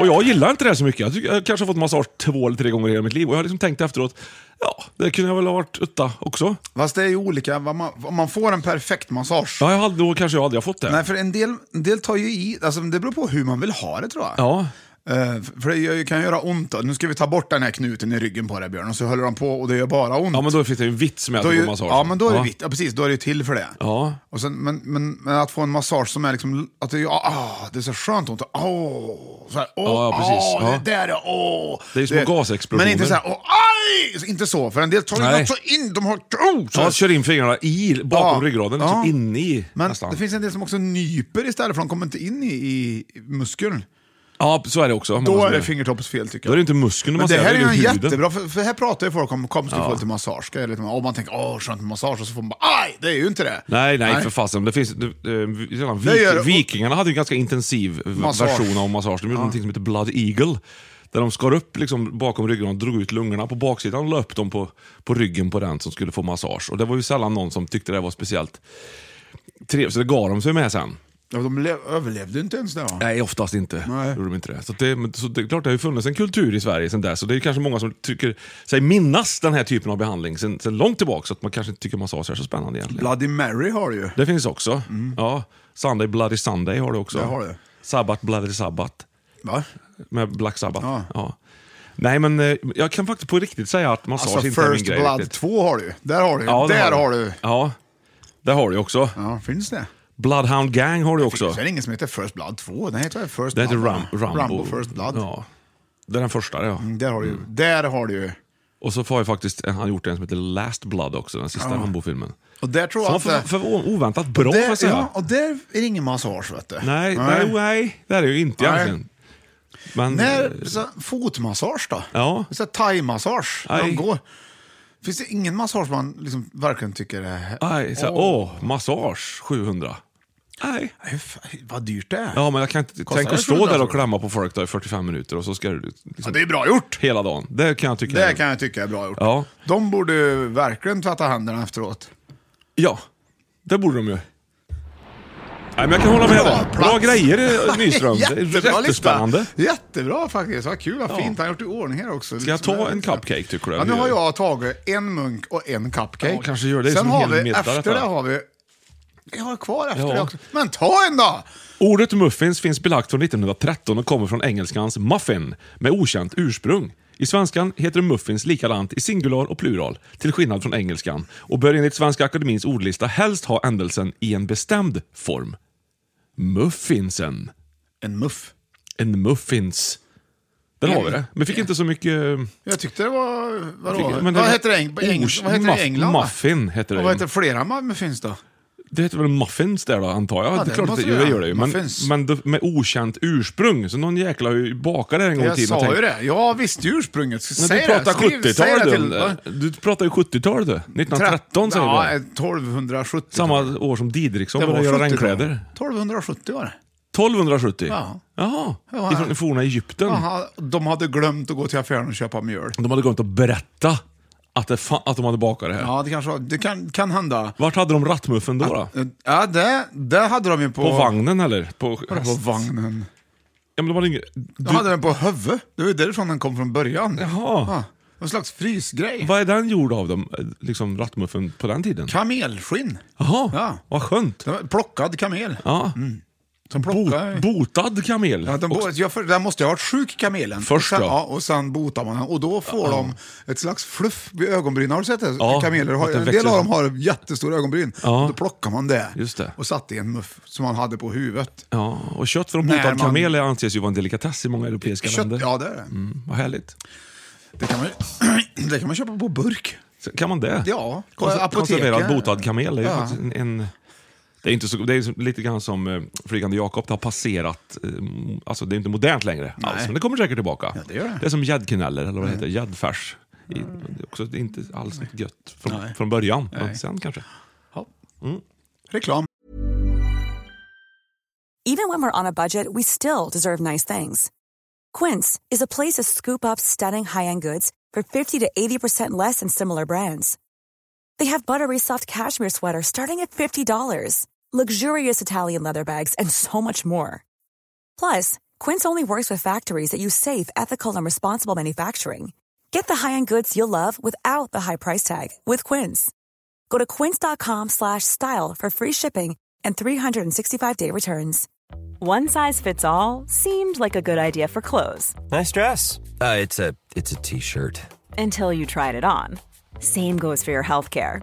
Och jag gillar inte det så mycket. Jag, tycker, jag kanske har fått massage två eller tre gånger i hela mitt liv och jag har liksom tänkt efteråt, ja, det kunde jag väl ha varit utta också. Fast det är ju olika vad man, om man får en perfekt massage. Ja, jag hade, då kanske jag aldrig har fått det. Nej, för en del, en del tar ju i. Alltså, det beror på hur man vill ha det tror jag. Ja. Eh, för det gör ju- kan göra ont. då. Nu ska vi ta bort den här knuten i ryggen på dig Björn, och så håller de på och det gör bara ont. ja, men då finns det ju en vits med att Då är få ju, massage. ja, men då är det ja. vitt. Ja, precis. Då är det ju till för det. Ja. Och sen, men, men, men att få en massage som är liksom... Att det, är- ah, det är så skönt ont. Åh! så här, åh, Ja, precis. åh, Ja. det där är åh! Det är ju små Du vet, gasexplosioner. Men inte så här, åh, aj! Så Inte så, för en del tar ju Nej. något så in... De har... Oh, så Ja, här. kör in fingrarna i, bakom Ja. ryggraden, liksom Ja. inne i men nästan. det finns en del som också nyper istället, för de kommer inte in i, i muskeln. Ja, så är det också. Många Då som är det gör. fingertoppens fel tycker jag. Då är det inte muskeln Men man det ser, här är det ju är huden. jättebra, för, för här pratar ju folk om kom ska vi få lite massage. Ska jag lite, och man tänker åh skönt med massage och så får man bara aj, det är ju inte det. Nej, nej, för fasen. Det finns, det, det, redan Det gör- vik, vikingarna hade ju en ganska intensiv v- Massage. version av massage. De gjorde någonting som heter Blood Eagle. Där de skar upp liksom bakom ryggen och drog ut lungorna på baksidan och la upp dem på, på ryggen på den som skulle få massage. Och Det var ju sällan någon som tyckte det var speciellt trevligt, så det gav de sig med sen. Ja, de le- överlevde ju inte ens det va? Nej, oftast inte. Nej. Gjorde de inte det. Så, det, men, så det är klart, det har ju funnits en kultur i Sverige sedan dess. Och det är ju kanske många som tycker sig minnas den här typen av behandling sedan sedan långt tillbaka. Så att man kanske inte tycker massage är så spännande egentligen. Bloody Mary har du ju. Det finns också. Ja. Sunday Bloody Sunday har du också. Mm. Det har du. Sabbat Bloody Sabbat. Va? Med Black Sabbath. Ja. Ja. Nej, men eh, jag kan faktiskt på riktigt säga att massage Alltså inte är min First grej. Blood riktigt. 2 har du Där har du Ja, det Där har har du. du. Ja, det har du också. Ja, finns det? Bloodhound Gang har du också. Finns det ingen som heter First Blood 2? Den heter väl First Det heter Blood? Ram- Rambo. Rambo First Blood. Mm. Ja. Mm. Det är den första, ja. Där har du ju. Där har du ju. Och så har jag faktiskt, eh, han gjort en som heter Last Blood också, den sista Rambo-filmen. Och där tror Som var jag för, att... för oväntat bra, får jag där, säga. ja, och där är det ingen massage vet du. Nej, nej, nej, det är det ju inte Nej. egentligen. Men, När, så, fotmassage då? Ja. Så, thai-massage, när Aj. de går. Finns det ingen massage man liksom verkligen tycker är... Aj, så här, åh, massage 700. Nej. Aj, fan, vad dyrt det är. Ja, men jag kan inte Kostar tänka att det stå 700, där och tror du? klämma på folk då i 45 minuter och så ska du liksom, Ja, det är bra gjort. hela dagen. Det kan jag tycka. Det är- kan jag tycka är bra gjort. Ja. De borde ju verkligen tvätta händerna efteråt. Ja, det borde de ju. Nej, men jag kan hålla med dig. Bra plats. (laughs) grejer eh, Nyström. Det är jättespännande. Lista. Jättebra faktiskt. Vad kul, vad fint. Han har gjort i ordning här också. Ska jag ta en cupcake tycker du? Ja, nu har jag tagit en munk och en cupcake. Ja, kanske gör det Sen som har hel vi, middag, efter detta. det har vi... Jag har kvar efter Ja. det också. Men ta en då! Ordet muffins finns belagt från 1913 och kommer från engelskans muffin med okänt ursprung. I svenskan heter det muffins likadant i singular och plural, till skillnad från engelskan och bör enligt Svenska Akademins ordlista helst ha ändelsen i en bestämd form. Muffinsen. En muff. En muffins. Där har vi det. Men fick inte så mycket... eh, Jag tyckte det var... Vadå? Fick, vad, heter det, eng- på eng- Ors- vad heter det muff- i England? va? Muffin heter det. Och vad heter flera muffins då? Det heter väl muffins där då, antar jag? Ja, det är det klart att måste det, jo, det göra. det gör det ju. Men, Muffins. men det- med okänt ursprung. Så någon jäkla har ju bakat det en gång i Jag tiden. och sa ju tänkt- det. Jag visste ju ursprunget. Så Men säg du pratar det. Skriv- säg 70-tal det du. till- va? Du pratar ju 70-tal du. 1913 säger ja, du. 1270. Samma år som Didriksson började göra 70 då. regnkläder. 1270 var det. 1270? Ja. Jaha, Ja. ifrån det forna Egypten. Aha, de hade glömt att gå till affären och köpa mjöl. De hade glömt att berätta att, det fa- att de hade bakat det här. Ja, det kanske var, det kan, kan hända. Vart hade de rattmuffen då? då? Ja, det, det hade de ju på... På vagnen eller? På, På vagnen. Ja, men de hade inget... De Du, hade den på huvudet. Det var ju därifrån den kom från början. Jaha. Ja, någon slags frysgrej. Vad är den gjord av, dem, liksom rattmuffen, på den tiden? Kamelskinn. Jaha, Ja. vad skönt. Det var Plockad kamel. Ja. Som plockade... Botad kamel. Ja, den, Och- bo, jag, för, den måste ju ha varit sjuk, kamelen. Först, och sen, ja. ja. Och sen botar man den och då får de ett slags fluff vid ögonbrynen. Har du sett det? Ja, Kameler har, att den en växer del av dem fram. har jättestora ögonbryn. Ja. Då plockar man det, Just det. och satte i en muff som man hade på huvudet. Ja, och kött från Nej, botad man- kamel anses ju vara en delikatess i många europeiska Kött, länder. ja det är det. Vad härligt. (clears throat) Det kan, man, ju- det kan man köpa på burk. Så Kan man det? Ja, på Konser- apoteken. Konserverad botad kamel är ju Ja. faktiskt en... en det är, inte så, det är ju lite grann som eh, Flygande Jakob, det har passerat... Eh, m- alltså det är inte modernt längre alls, men det kommer säkert tillbaka. det gör det. Mm. är som gäddkneller, eller vad det heter, gäddfärs. I- Det är också det är inte alls gött från, Nej. från början, men Nej. sen kanske. Ja. Reklam. Even when we're on a budget, we still deserve nice things. Quince is a place to scoop up stunning high end goods for 50 to 80% less than similar brands. They have buttery soft cashmere sweaters starting at $50, luxurious Italian leather bags, and so much more. Plus, Quince only works with factories that use safe, ethical, and responsible manufacturing. Get the high-end goods you'll love without the high price tag with Quince. Go to quince.com slash style for free shipping and 365-day returns. One size fits all seemed like a good idea for clothes Nice dress. Uh, it's a it's a t-shirt. until you tried it on. Same goes for your healthcare.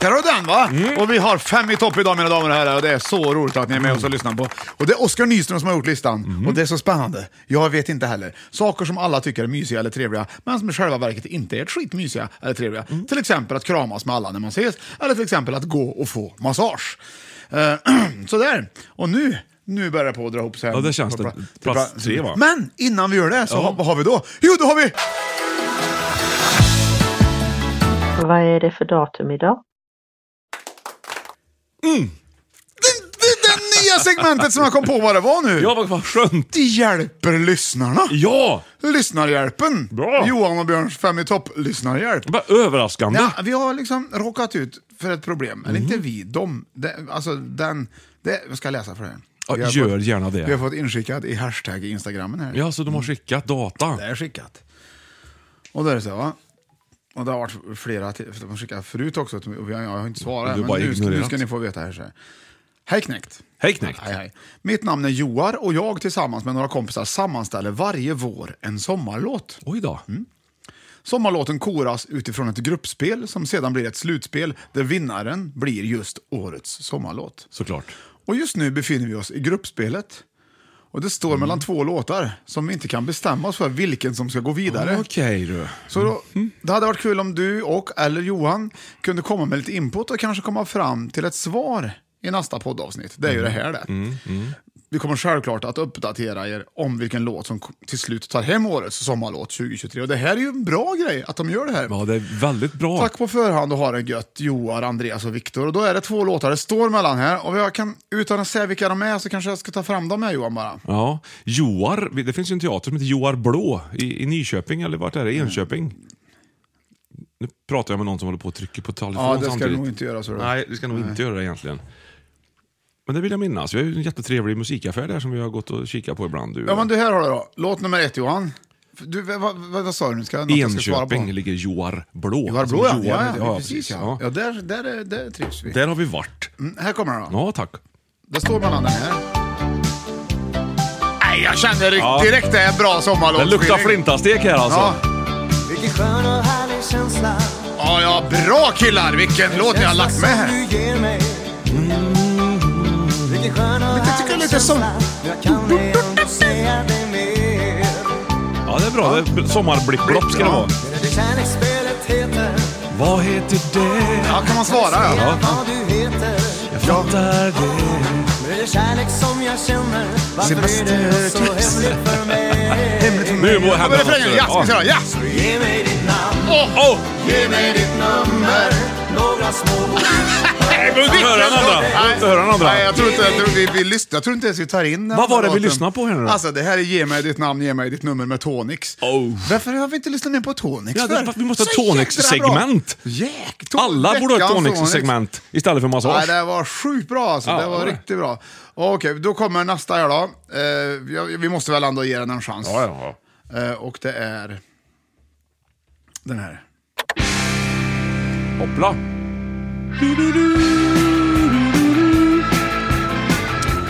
Där har du den va! Mm. Och vi har fem i topp idag mina damer och herrar och det är så roligt att ni är med oss och lyssnar på. Och det är Oskar Nyström som har gjort listan Mm. och det är så spännande. Jag vet inte heller. Saker som alla tycker är mysiga eller trevliga men som i själva verket inte är ett skit mysiga eller trevliga. Mm. Till exempel att kramas med alla när man ses eller till exempel att gå och få massage. Eh, (clears throat) Sådär, och nu nu börjar det på att dra ihop sig. Ja, det känns det. Plats tre, va? Men innan vi gör det, så ha- vad har vi då? Jo, då har vi Vad är det för datum idag? Mm. det, det, det nya segmentet som jag kom på vad det var nu. Ja, vad, vad skönt! Det hjälper lyssnarna. Ja! Lyssnarhjälpen. Bra. Johan och Björns Fem i topp-lyssnarhjälp. Vad överraskande. Ja, vi har liksom råkat ut för ett problem. Eller Mhm. inte vi, de. de alltså den... Det, jag ska läsa för er. Ja, Vi har gör fått, gärna det. Vi har fått Mm. inskickat i hashtag i Instagrammen här. Ja, så de har skickat data. Det är skickat. Och då är det så här, va. Och det har varit flera till, för de har skickat förut också. Och vi har- jag har inte svarat. Du Men bara nu, ska, nu ignorerat. ska ni få veta här. Så här. Hej knekt. Hej knekt! Hej, hej. Mitt namn är Joar och jag tillsammans med några kompisar sammanställer varje vår en sommarlåt. Oj då. Mm. Sommarlåten koras utifrån ett gruppspel som sedan blir ett slutspel där vinnaren blir just årets sommarlåt. Såklart. Och just nu befinner vi oss i gruppspelet. Och det står mellan två låtar som vi inte kan bestämma oss för vilken som ska gå vidare. Ah, Okej du. Så då, Mhm. det hade varit kul om du och eller Johan kunde komma med lite input och kanske komma fram till ett svar i nästa poddavsnitt. Det är ju Mm. det här det. Vi kommer självklart att uppdatera er om vilken låt som k- till slut tar hem årets sommarlåt 2023. Och det här är ju en bra grej att de gör det här. Ja, det är väldigt bra. Tack på förhand och ha det gött, Joar, Andreas och Viktor. Och då är det två låtar det står mellan här. Och jag kan, utan att säga vilka de är så kanske jag ska ta fram dem här Johan bara. Ja. Joar, det finns ju en teater som heter Joar Blå i, i Nyköping, eller vart är det? Mm. Enköping? Nu pratar jag med någon som håller på och trycker på telefon Ja, det ska du samtidigt. nog inte göra. Så Nej, vi ska nog inte göra det egentligen. Men det vill jag minnas. Vi har ju en jättetrevlig musikaffär där som vi har gått och kikat på ibland. Du. Ja, men du, här har du då. Låt nummer ett, Johan. Du, vad, vad, vad sa du nu? Ska jag, något jag ska svara på? Enköping ligger Joar Blå. Joar Blå, ja. Alltså, Ja, heter- ja, precis. Ja. Ja, där, där, är- där trivs vi. Där har vi varit. Mm, här kommer den då. Ja, tack. Det står mellan den här. Nej, jag känner direkt, direkt det är en bra sommarlåt. Det luktar flintastek här alltså. Ja. ja, ja, bra killar. Vilken låt ni har lagt med här. Jag tycker det är lite som... Ja, det är bra. Det är sommarblippblopp ska det Ja. vara. Vad heter det? Ja, kan man svara? Ja. Jag fattar det. Sebastian Ortiz. Hemligt för Nu må mig. hända Vad var refrängen? något. Ja, ska vi köra? Ja! Så ge mig ditt namn, Åh, åh! ge mig ditt nummer, några små ord. Nej, men inte höra den andra. Vi får inte höra den andra. Nej, jag tror inte, jag tror, vi, vi lyssn, jag tror inte ens vi tar in den Vad var det låten. vi lyssnade på här nu då? Alltså, det här är Ge mig ditt namn, ge mig ditt nummer med Tonix. Varför har vi inte lyssnat mer på Tonix Oh. Ja, det är för? för att vi måste ha Så jäkla bra. Tonix-segment. Jäk, to- Alla borde ha ett veckans Tonix-segment istället för Nej, massage. det var sjukt bra alltså. Ja, det var det var det. riktigt bra. Okej, då kommer nästa här då. Eh, ja, vi måste väl ändå ge den en chans. Ja, ja, Eh, och det är den här. ja. Hoppla.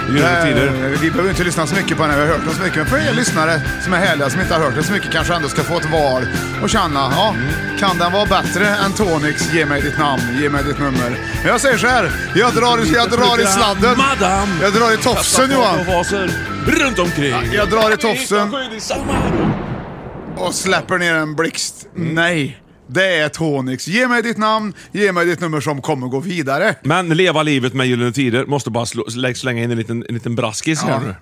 Gyllene tider. Eh, vi behöver inte lyssna så mycket på den här, vi har hört den så mycket. Men för er lyssnare som är härliga, som inte har hört den så mycket, kanske ändå ska få ett val och känna, ja, kan den vara bättre än Tonix? Ge mig ditt namn, ge mig ditt nummer. Men jag säger så här, jag drar, i- jag drar i sladden. Madam. Jag drar i tofsen Johan. Vaser Runt omkring. Jag drar i tofsen Skydd i sommar. och släpper ner en blixt. Nej, det är Tonix. Ge mig ditt namn, ge mig ditt nummer som kommer gå vidare. Men leva livet med Gyllene Tider. Måste bara slå, slä- slänga in en liten, en liten braskis Ja. här nu.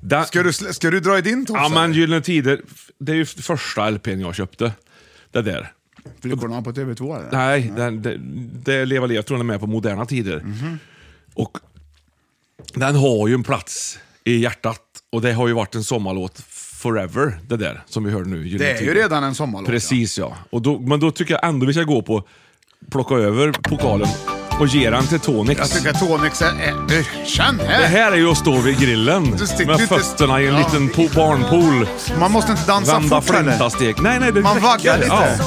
Da, Ska du, slä- ska du dra i din tofse? ja, men Gyllene Tider, f- det är ju f- första LPn jag köpte. Det där. Flickorna på TV2 eller? Nej, den, det, det är Leva livet. Jag tror den är med på Moderna Tider. Mhm. Och den har ju en plats i hjärtat. Och det har ju varit en sommarlåt forever, det där som vi hörde nu. Gyllene Det är ju Tider. redan en sommarlåt. Precis ja. Och då, men då tycker jag ändå vi ska gå på plocka över pokalen och ge den till Tonix. Jag tycker att Tonix är... är- du, Känn här! Det här är ju att stå vid grillen sticker med inte- fötterna i en Ja. liten po- barnpool. Man måste inte dansa Vända fort heller. flintastek. Nej, nej, det Man räcker. vaggar lite.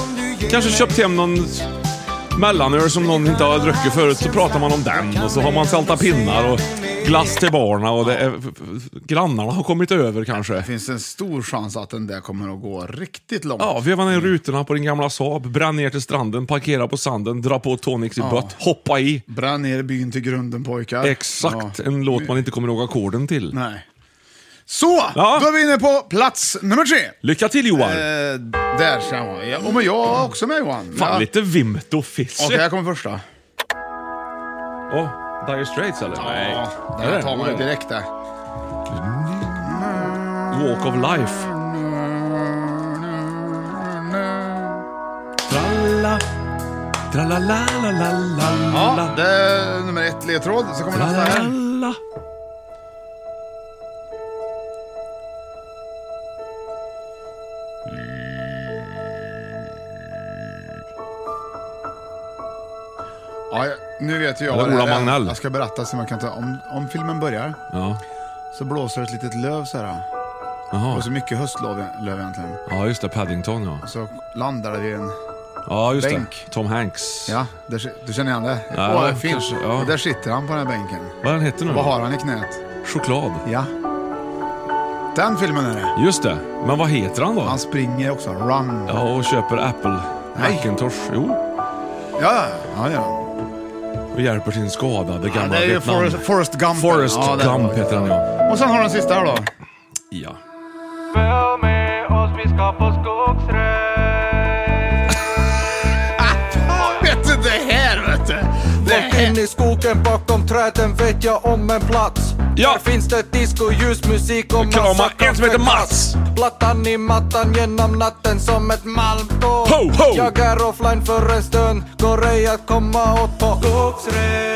Kanske köpt hem någon mellanöl som någon inte har druckit förut, så pratar man om den och så har man sälta pinnar och glass till barna och det är, grannarna har kommit över kanske. Det finns en stor chans att den där kommer att gå riktigt långt. Ja, veva ner rutorna på din gamla Saab, bränn ner till stranden, parkera på sanden, dra på Tonix i bött, hoppa i. Bränn ner byn till grunden pojkar. Exakt Ja. en låt man inte kommer ihåg ackorden till. Nej. Så, Ja. då är vi inne på plats nummer tre. Lycka till Johan! Eh, där ska man. Ja, och men jag är också med Johan. Fan, ja. lite Vimto Fizzy. Okej, här kommer första. Åh, Dire Straits eller? Nej. Ja, Är där det? tar man ju direkt där. Walk of Life. Tralla, Ja, tralalalalala. det är nummer ett ledtråd. Så kommer nästa här. Tralala. Ja, jag- nu vet ju jag Eller vad det Ola här är. Magnell. Jag ska berätta så man kan ta... Om, om filmen börjar Ja, så blåser ett litet löv så här. jaha. Och så mycket höstlöv löv egentligen. Ja, just det. Paddington ja. Så landar det i en... Ja, just Bänk. det. Tom Hanks. Ja, där, si- du känner igen det? Ja, Åh, det är fint. kanske, ja. Och Där sitter han på den här bänken. Vad den hette nu? Vad har han i knät? Choklad. Ja. Den filmen är det. Just det. Men vad heter han då? Han springer också. Run. Ja, Ja, och köper Apple Nej. Macintosh. Jo. ja, ja. ja. Och hjälper sin skadade ja gamla det är ju Vietnam. Forrest, Forrest Gump. Forrest ja, det är Gump det. heter han ja. Och sen har du den sista här då. Ja. Följ med oss, vi ska på skogsröj. Vet du det här vet du? Det Långt in här. i skogen bakom träden vet jag om en plats. Ja. Där finns det disco, ljusmusik och Krama en som heter kaffekass. Plattan i mattan genom natten som ett malmtåg. Ho, ho! Jag är offline för en stund, går ej att komma åt på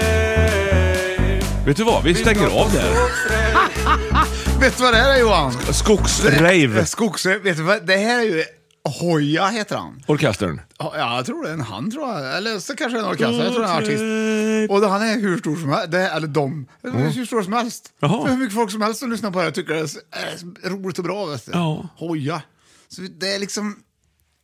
skogsröj. Vet du vad? Vi stänger av där. Vet du vad det här är Johan? Skogsrave. Skogs... Vet du vad? Det här är ju... Hoja heter han. Orkestern. Ja, jag tror det är en han tror jag. Eller så kanske det är en orkester. Jag tror det är en artist. Mm. Och då, han är hur stor som helst. Det, eller de. Hur stor som helst. Jaha. För hur mycket folk som helst som lyssnar på det här tycker det är så- är så roligt och bra. Vet du. Ja. Hoja. Så det är liksom...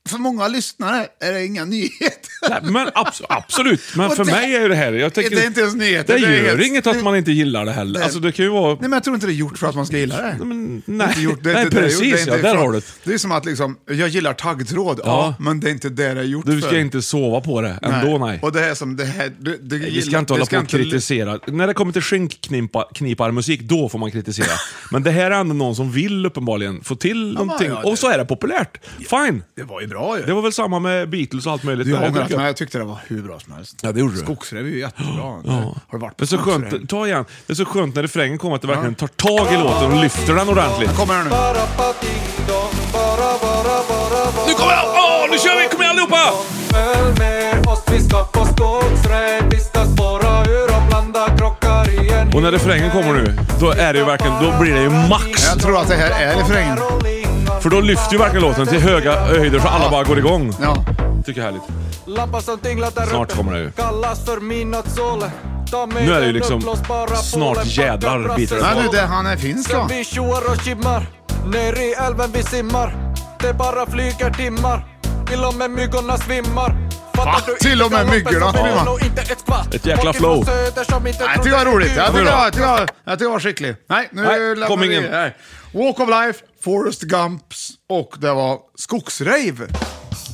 För många lyssnare är det inga (laughs) nyheter. Nej, men abs absolut, men Och för det- mig är ju det här... Jag tänker, Det är inte ens nyheter, Det, det är gör helt- inget att man inte gillar det heller. Nej. Alltså det kan ju vara... Nej, men jag tror inte det är gjort för att man ska gilla det. men Det är nej. inte gjort, det är Nej, inte det är gjort, precis, det är inte ja, där för- har du det. Det är som att liksom, jag gillar taggtråd, ja. Ja. men det är inte det det är gjort Du ska för. inte sova på det ändå, nej. Och det här som, det här, du, du Nej, Vi gillar- ska det inte hålla på och inte- kritisera. När det kommer till skinkkniparmusik, då får (laughs) man kritisera. Men det här är ändå någon som vill uppenbarligen få till någonting. ja, det- Och så är det populärt. Fine. Det var ju bra. bra ju. Det var väl samma med Beatles och allt möjligt. Du, där, jag ångrar tycker att jag. men jag tyckte det var hur bra som helst. Ja, det gjorde du. Skogsrev är ju jättebra. Har du varit Det på är så skogsrevy? skönt, ta igen. Det är så skönt när refrängen kommer att det verkligen tar tag i låten och lyfter den ordentligt. Kommer här nu. Nu kommer jag! Åh, nu kör vi! Kom igen allihopa! Följ med oss, vi ska på skogsrejs. Vi ska spåra ur och blanda krockar i en Och när refrängen kommer nu, då är det ju verkligen, då blir det ju max. Jag tror att det här är refrängen. För då lyfter ju verkligen låten till höga höjder så alla bara går igång. Ja. Tycker jag är härligt. lampa som tinglar där Snart uppe. kommer det ju. Kallas för midnattssol. Ta med Nu är det ju den liksom uppblåsbara snart poolen, jädrar packa biter det brassesål. på. Nej, nu, det- han är finsk, va? Sen vi tjoar och kimmar. Ner i älven vi simmar. Det bara flyger timmar. Till och med myggorna svimmar. Fattar Va? du inte Till och med loppet myggorna som vinner svimmar? och inte ett skvatt. Ett jäkla Folk ifrån flow. söder som inte Nej, jag trodde tycker det var roligt. det var Jag tycker kul. det var- jag tycker det var- jag tycker det var skicklig. Nej, nu Nej, lämnar kom vi ingen. det här. Walk of Life, Forrest Gumps och det var Skogsrave.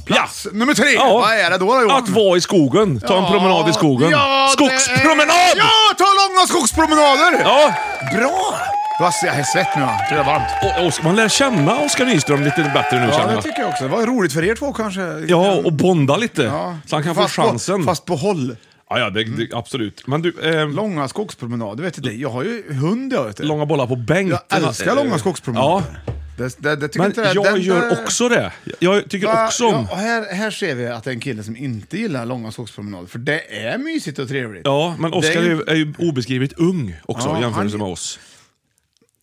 Plats nummer tre. Ja. Vad är det då, då Johan? Att vara i skogen. Ta en promenad i skogen. Ja, det är- Skogspromenad! Ja, ta långa skogspromenader! Ja. Bra! Vad- Jag är svett nu va? Det är varmt. Och, och, man lär känna Oskar Nyström lite bättre nu Ja, känner det jag. tycker jag också. Det var roligt för er två kanske. Ja, och bonda lite. Ja. Så han kan Fast få på- chansen. Fast Mm. på håll. Ja, ja det, det, absolut. Men du, eh, Långa skogspromenader, vet du det? Jag har ju hund jag vet du. långa bollar på bänk. Jag älskar långa Ja, skogspromenader. Det, det, det tycker men inte det, jag den- gör det- också det. Jag tycker Va- också om... Ja, och här, här ser vi att det är en kille som inte gillar långa skogspromenader, för det är mysigt och trevligt. Ja, men Oskar Det är är, ju- ju- är ju obeskrivligt ung också Ja, i jämförelse han- med oss.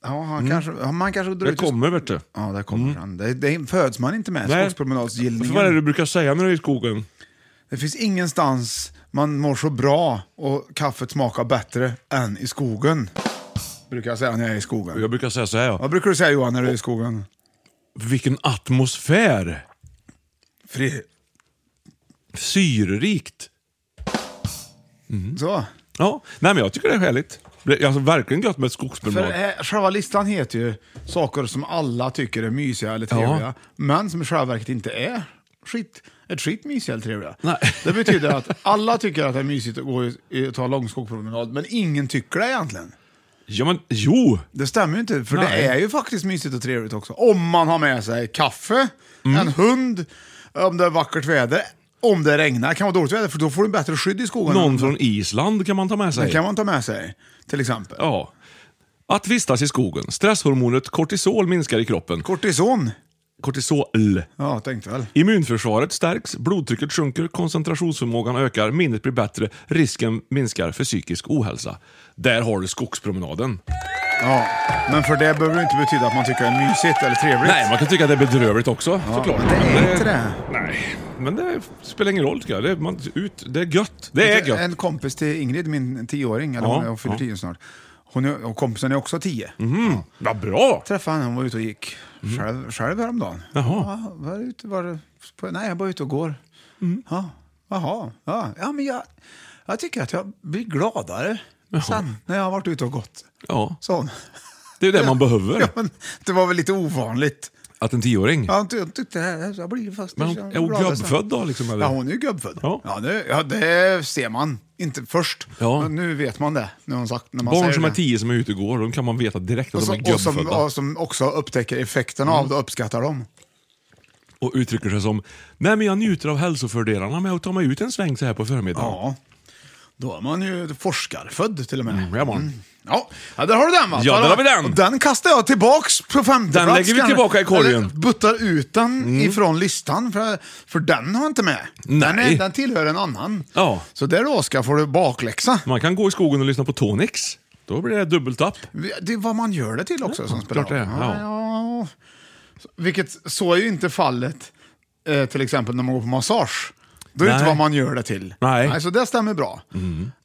Ja, han kanske, han- man kanske drar Mm. Det ut... kommer, vet du. Ja, där kommer han. Det, det föds man inte med, Nej. För vad är det skogspromenadsgillningen. du brukar säga när du är i skogen? Det finns ingenstans man mår så bra och kaffet smakar bättre än i skogen. Brukar jag säga när jag är i skogen. Jag brukar säga så här, ja. Vad brukar du säga Johan när du är i skogen? Vilken atmosfär! Fri. Syrerikt! Mm. Så. Ja, nej men jag tycker det är härligt. Det är alltså verkligen gött med ett För skogspromenad. eh, själva listan heter ju saker som alla tycker är mysiga eller trevliga, Ja. men som i själva verket inte är skit, ett skit mysiga eller trevliga. Nej. (laughs) Det betyder att alla tycker att det är mysigt att gå i- i- och ta en lång skogspromenad, men ingen tycker det egentligen. Ja men jo! Det stämmer ju inte, för Nej. det är ju faktiskt mysigt och trevligt också. Om man har med sig kaffe, Mm. en hund, om det är vackert väder, om det regnar. Det kan vara dåligt väder, för då får du bättre skydd i skogen. Någon från Island kan man ta med sig. Det kan man ta med sig, till exempel. Ja. Att vistas i skogen. Stresshormonet kortisol minskar i kroppen. Kortison. Kortisol. Ja, tänkte väl. Immunförsvaret stärks, blodtrycket sjunker, koncentrationsförmågan ökar, minnet blir bättre, risken minskar för psykisk ohälsa. Där har du skogspromenaden. Ja, men för det behöver det inte betyda att man tycker det är mysigt eller trevligt. Nej, man kan tycka att det är bedrövligt också, såklart. men det är inte det. Nej, men det spelar ingen roll tycker jag. Det är, man, ut, det är gött. Det är gött. En kompis till Ingrid, min tioåring, eller Ja, hon, hon fyller ja. Mhm. tio snart. Hon är, och kompisen är också tio. Vad bra! Träffade henne, hon var ute och gick Mhm. själv, själv häromdagen. Jaha. Ja, var du ute, var, du på- nej, jag var ute och går. Mm. Ja, jaha, ja. ja men jag, jag tycker att jag blir gladare sen när jag har varit ute och gått. Ja, Så. hon. det är det man behöver. Ja, men det var väl lite ovanligt. Att en tioåring... Ja, jag tyckte det här, jag blir fast Men hon- jag är hon blir glad nästan. gubbfödd då, liksom, eller? Ja, hon är ju gubbfödd. Ja. Ja. det, ja, det ser man. Inte först, Ja. men nu vet man det. När hon sagt, när man Barn säger som det. är tio som är ute och går, de kan man veta direkt och att de som, är och som, gubbfödda. Mm. och som också upptäcker effekterna av det och uppskattar dem. Och uttrycker sig som Nej men jag njuter av hälsofördelarna med att ta mig ut en sväng så här på förmiddagen. Ja. Då är man ju forskarfödd till och med. Mm, ja, man. Ja. ja, där har du den va? Ja, Ta där har vi den. Och den kastar jag tillbaks på femte Den plats, lägger vi kanske. tillbaka i korgen. Mm. Eller buttar ut den ifrån listan, för, för den har jag inte med. Den, Nej. är, den tillhör en annan. Ja. Så där då, Oskar, får du bakläxa. Man kan gå i skogen och lyssna på Tonix. Då blir det dubbeltapp. Det är vad man gör det till också Ja, som spelar klart det är, roll. ja. ja. Vilket så är ju inte fallet eh, till exempel när man går på massage. Då är det Nej. inte vad man gör det till. Nej. Mm. så det stämmer bra.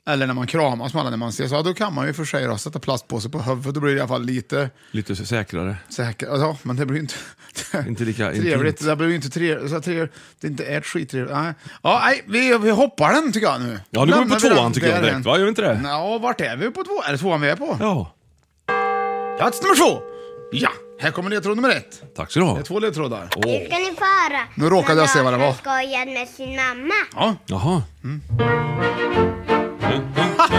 Eller när man kramas med alla när man ses. Ja, då kan man ju för sig då, sätta plastpåse på huvudet. Då blir det i alla fall lite Lite säkrare. säkert. Ja, men det blir ju inte... (laughs) Inte lika trevligt. intimt. Det blir ju inte trevligt. Så trevligt. Det är inte är skittrevligt. Nej. Ja, nej, vi, vi hoppar den tycker jag nu. Ja, nu går vi på Lämnar den tvåan tycker jag därhän. direkt, va? Gör vi inte det? Ja, vart är vi på tvåan? Är det tvåan vi är på? Ja, Plats nummer två! Ja, här kommer ledtråd nummer ett. tack så du Det ha. är två ledtrådar. Åh. ska ni få höra. Nu råkade jag se vad det var. skojar med sin mamma. Ja. Jaha. Mm. (laughs)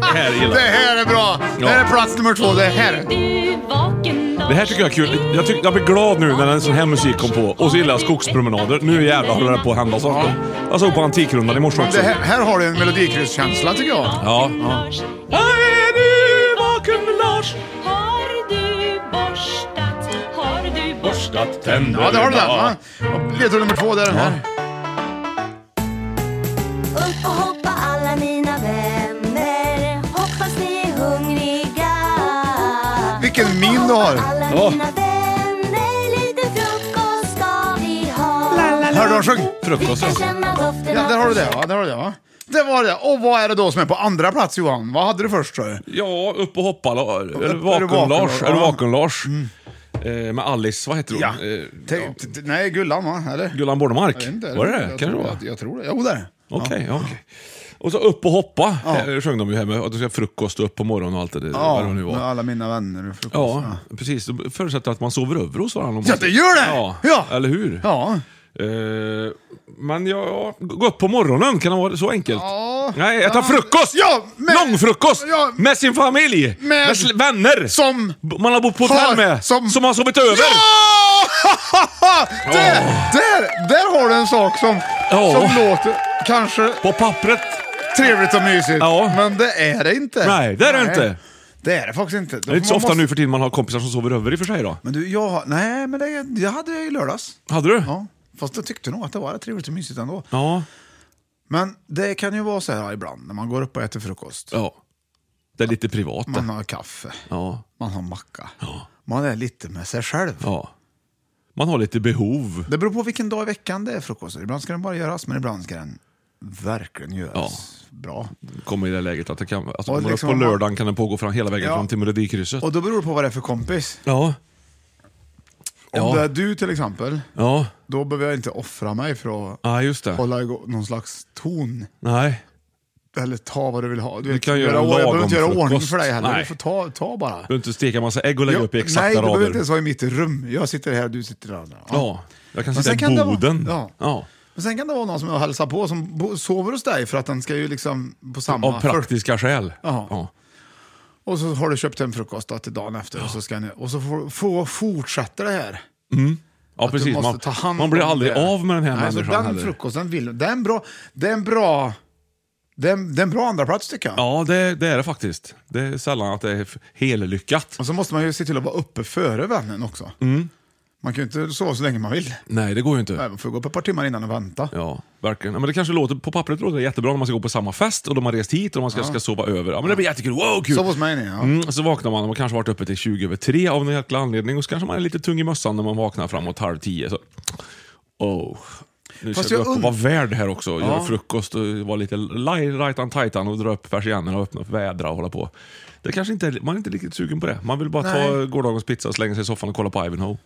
det här gillar Det här är bra! Det här är plats nummer två. Det här. Du vaken dag Det här tycker jag är kul. Jag, tyck, jag blir glad nu när en sån här musik kom på. Och så gillar jag skogspromenader. Nu jävlar håller det på att hända saker. Jag såg på Antikrundan i morse Men också. det här, här har du en melodikrysskänsla tycker jag. Ja. Är du vaken Lars? Har du borstat? Har du Borstat tänderna. Ja, det har du där va? Och Ledtråd nummer två, det är den här. Upp och hoppa alla mina vänner Hoppas ni är hungriga Vilken min du har. Alla mina vänner Lite frukost ska vi ha Hörde du han sjöng? Frukost. Kan känna doften Ja, av där har du det va? Där har du det va? Det var det. Och vad är det då som är på andra plats Johan? Vad hade du först tror du? Ja, upp och hoppa la- Är är du du vaken vaken, Lars? ja. Mm. Är du vaken Lars? Eh, Med Alice, vad heter hon? Ja. Eh, Te- t- t- Nej, Gullan va? Eller? Gullan Bornemark? Jag vet inte, Var det jag det? Kan det tror- vara? jag- Jag tror det. Jo, det är det. Okej, ja. okej. Och så upp och hoppa ja. sjöng de ju här med. Att du ska ha frukost och upp på morgonen och allt det där. Ja, vad det nu med var. alla mina vänner och frukost. Ja, precis. Det förutsätter att man sover över hos varandra. om Ja, man- det gör det! Ja, Ja. eller hur? Ja. Eh, men ja, ja, gå upp på morgonen, kan det vara så enkelt? Ja. Nej, äta Ja. frukost! Ja, med- Långfrukost! Ja. Med sin familj! Med- sl- vänner! Som... B- Man har bott på hotell Har- med, som... som- har sovit över! Ja! (laughs) där, där, där har du en sak som, Ja. som låter kanske På pappret! trevligt och mysigt, Ja. men det är det inte. Nej, det är det inte. Det är det faktiskt inte. Det är inte så ofta nu för tiden man har kompisar som sover över i och för sig då. Men du, jag har... Nej, men det, jag hade det i lördags. Hade du? Ja. Fast jag tyckte nog att det var rätt trevligt och mysigt ändå. Ja. Men det kan ju vara så här ibland när man går upp och äter frukost. ja. Det är lite privat det. Man har kaffe, Ja. man har macka, man är lite med sig själv. ja. Man har lite behov. Det beror på vilken dag i veckan det är frukost. Ibland ska den bara göras, men ibland ska den verkligen göras Ja. bra. Kommer i det läget att det kan... Alltså, Och om man är liksom- på lördagen kan den pågå fram, hela vägen Ja. fram till melodikrysset. Och då beror det på vad det är för kompis. Ja. Om Ja. det är du till exempel, Ja. då behöver jag inte offra mig för att Ja, just det. hålla igång någon slags ton. Nej. Eller ta vad du vill ha. Du, vet, kan göra jag en behöver lagom inte göra ordning frukost. för dig heller. Nej. Du får ta, ta bara. Du behöver inte steka massa ägg och lägga Ja, upp i exakta nej, du rader. behöver inte ens vara i mitt rum. Jag sitter här och du sitter där. Ja. Jag Men kan sen sitta kan i det vara- boden. ja. ja. Men sen kan det vara någon som jag hälsar på som bo- sover hos dig för att den ska ju liksom på samma... Av praktiska skäl. Jaha. Ja. Och så har du köpt en frukost då, till dagen efter och så, ska ni, och så får, får fortsätter det här. Ja, Att du precis. måste Man, ta hand man blir om aldrig det. av med den här Nej, så människan Den heller. frukosten vill det är en bra, det är en bra, det är en, det är en bra andra plats tycker jag. Ja, det, det är det faktiskt. Det är sällan att det är f- hellyckat. Och så måste man ju se till att vara uppe före vännen också. Mm. Man kan ju inte sova så länge man vill. Nej, det går ju inte. Nej, Man får gå upp ett par timmar innan och vänta. Ja, verkligen. Ja, men det kanske låter, på pappret låter det jättebra när man ska gå på samma fest och de har rest hit och man ska, ska sova över. Ja, men det blir jättekul. Wow, kul! Sov hos mig ni. Ja. Mm, så vaknar man och man kanske varit uppe till 20 över tre av någon jäkla anledning och så kanske man är lite tung i mössan när man vaknar framåt halv tio. Så. Oh. Nu Fast ska jag jag gå upp und- och vara värd här också. och Göra Ja. frukost och vara lite li- right on tightan och dra upp persiennerna och öppna vädra och hålla på. Det kanske inte är, man är inte riktigt sugen på det. Man vill bara ta Nej. gårdagens pizza, slänga sig i soffan och kolla på Ivanhoe.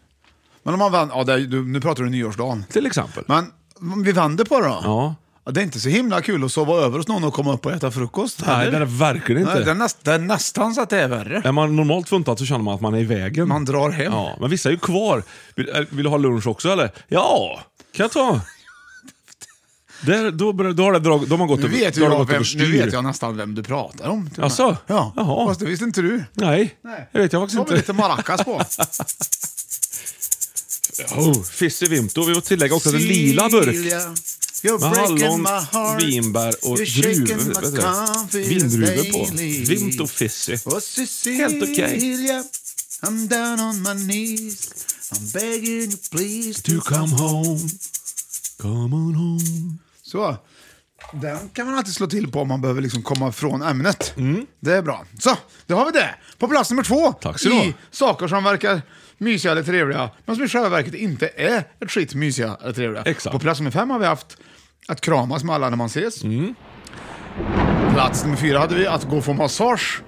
Men om man vänder, ja, det är, du, nu pratar du nyårsdagen. Till exempel. Men om vi vänder på det då. Ja. Ja, Det är inte så himla kul att sova över hos någon och komma upp och äta frukost. Nej, heller. det är det verkligen inte. Nej, det, är näst, det är nästan så att det är värre. Är man normalt funtad så känner man att man är i vägen. Man drar hem. Ja, men vissa är ju kvar. Vill, äh, vill du ha lunch också eller? Ja, kan jag ta. Där, då, bör- då har det drag, de har gått Nu över- vet, då har det jag gått vem, överstyr. nu vet jag nästan vem du pratar om. till och med. Asså? Ja, Jaha. fast det visste inte du. Nej, Nej. det vet jag faktiskt Så har vi lite inte. maracas (laughs) på. Oh, Fisse Vimto. Vi får tillägga också att en lila burk med hallon, vinbär och druvor. vet du det? Vindruvor på. Vimto Fisse. Och Cecilia, Helt okej. I'm down on my knees. I'm begging you please To come home, come on home. Så. Den kan man alltid slå till på om man behöver liksom komma från ämnet. Det är bra. Så, då har vi det. På plats nummer två Mm. Tack så du ha. i saker som verkar mysiga eller trevliga, men som i själva verket inte är ett skit mysiga eller trevliga. Exakt. På plats nummer fem har vi haft att kramas med alla när man ses. Mm. Plats nummer fyra hade vi att gå och få massage.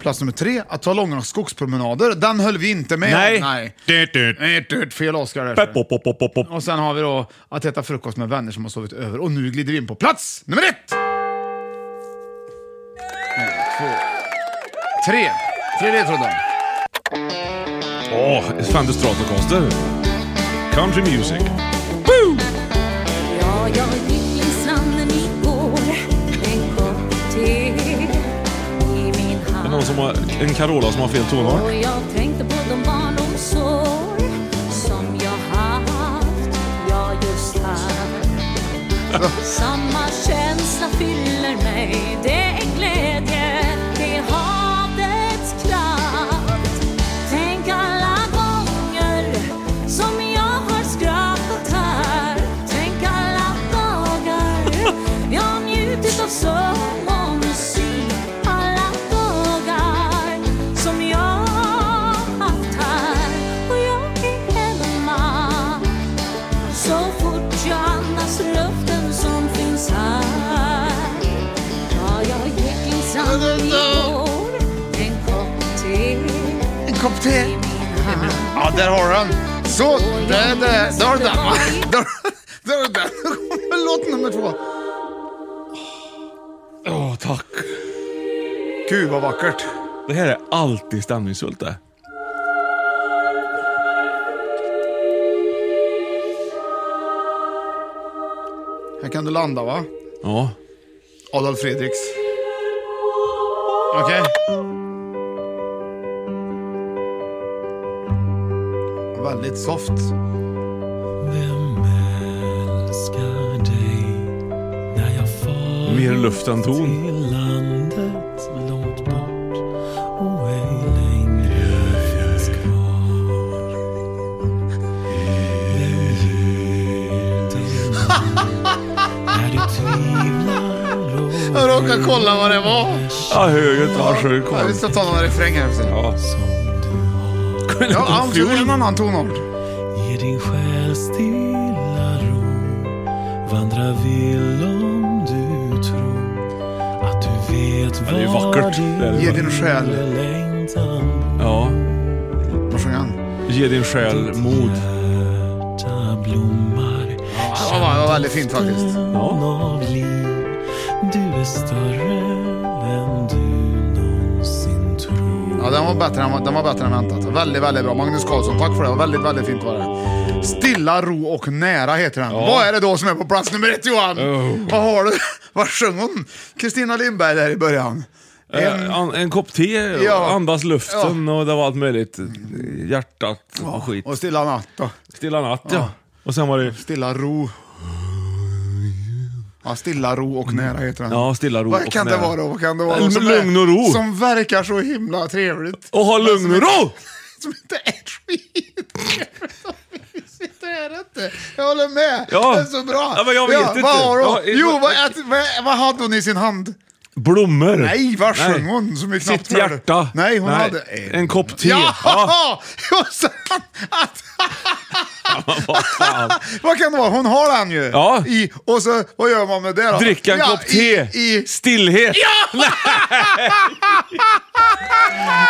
Plats nummer tre, att ta långa skogspromenader. Den höll vi inte med om. Nej. Nej. Dut, dut. Nej, dut, fel Oscar. där. Pep, pop, pop, pop, pop, pop. Och sen har vi då att äta frukost med vänner som har sovit över. Och nu glider vi in på plats nummer ett! En, två, tre. Tre ledtrådar. Åh, oh, Sven Stratocaster. Country music. Ja, jag gick längs stranden igår En kopp te i min Det är hand någon som har en Carola som har fel tonart. Och jag tänkte på de barn och Samma känsla fyller mig Det är glädje, det är havets kraft Tänk alla gånger som jag har skrattat här Tänk alla dagar jag njutit av sång och musik Alla dagar som jag haft här Och jag är hemma så fort jag andas luften som finns här Tar jag Geklingsand i går En kopp te En kopp te. Ja, där har han. Så, där, där, där har du den. va? (laughs) Där där har du den. (laughs) Nu kommer låt nummer två. Åh, tack. Gud vad vackert. Det här är alltid stämningsfullt det. Här kan du landa va? Ja. Adolf Fredriks. Okej. Väldigt soft. Mer luft än ton. Jag råkade kolla vad det var. Ja, höget var sju Ja, vi ska ta några refränger här sen. Ja. Ja, han tog en annan tonart. Ge din själ stilla ro Vandra vill om du tror Att du vet Ja, det är ju vackert. Det är det Ge verkligen. din själ. Ja. Vad sjöng han? Ge din själ mod. Ja, det var- det var väldigt fint faktiskt. av liv Du är större än du någonsin tror Ja, den var bättre än, den var bättre än väntat. Väldigt, väldigt bra. Magnus Karlsson, tack för det. Det var Väldigt, väldigt fint var det. Stilla, ro och nära heter den. Ja. Vad är det då som är på plats nummer ett Johan? Oh. Vad har du? (laughs) Vad sjöng hon? Kristina Lindberg där i början. En- En, Eh, en, en kopp te, och Ja. andas luften och det var allt möjligt. Hjärtat och skit. Och Stilla natt då. Stilla natt ja. Och sen var det... Stilla ro. Ja, stilla ro och nära heter den. Ja, stilla ro Vad och kan det nära. vara då? Vad kan det vara? då L- som lugn är- och ro. Som verkar så himla trevligt. Alltså, Och ha lugn och ro! Det är det inte. (laughs) Jag håller med. Ja. Det är så bra. Ja, men jag vet inte. Vad har hon? Jag- Jo, vad, ät, vad, vad hade hon i sin hand? Blommor! Nej, vad Nej. sjöng hon som vi knappt Sitt hjärta. Nej, hon hade... En kopp te. Ja! Ja. (laughs) Och sen att... (laughs) Vad kan det vara? Hon har den ju. Ja. I, och så, vad gör man med det då? Dricka en kopp te. I, i... Stillhet. (laughs) Ja!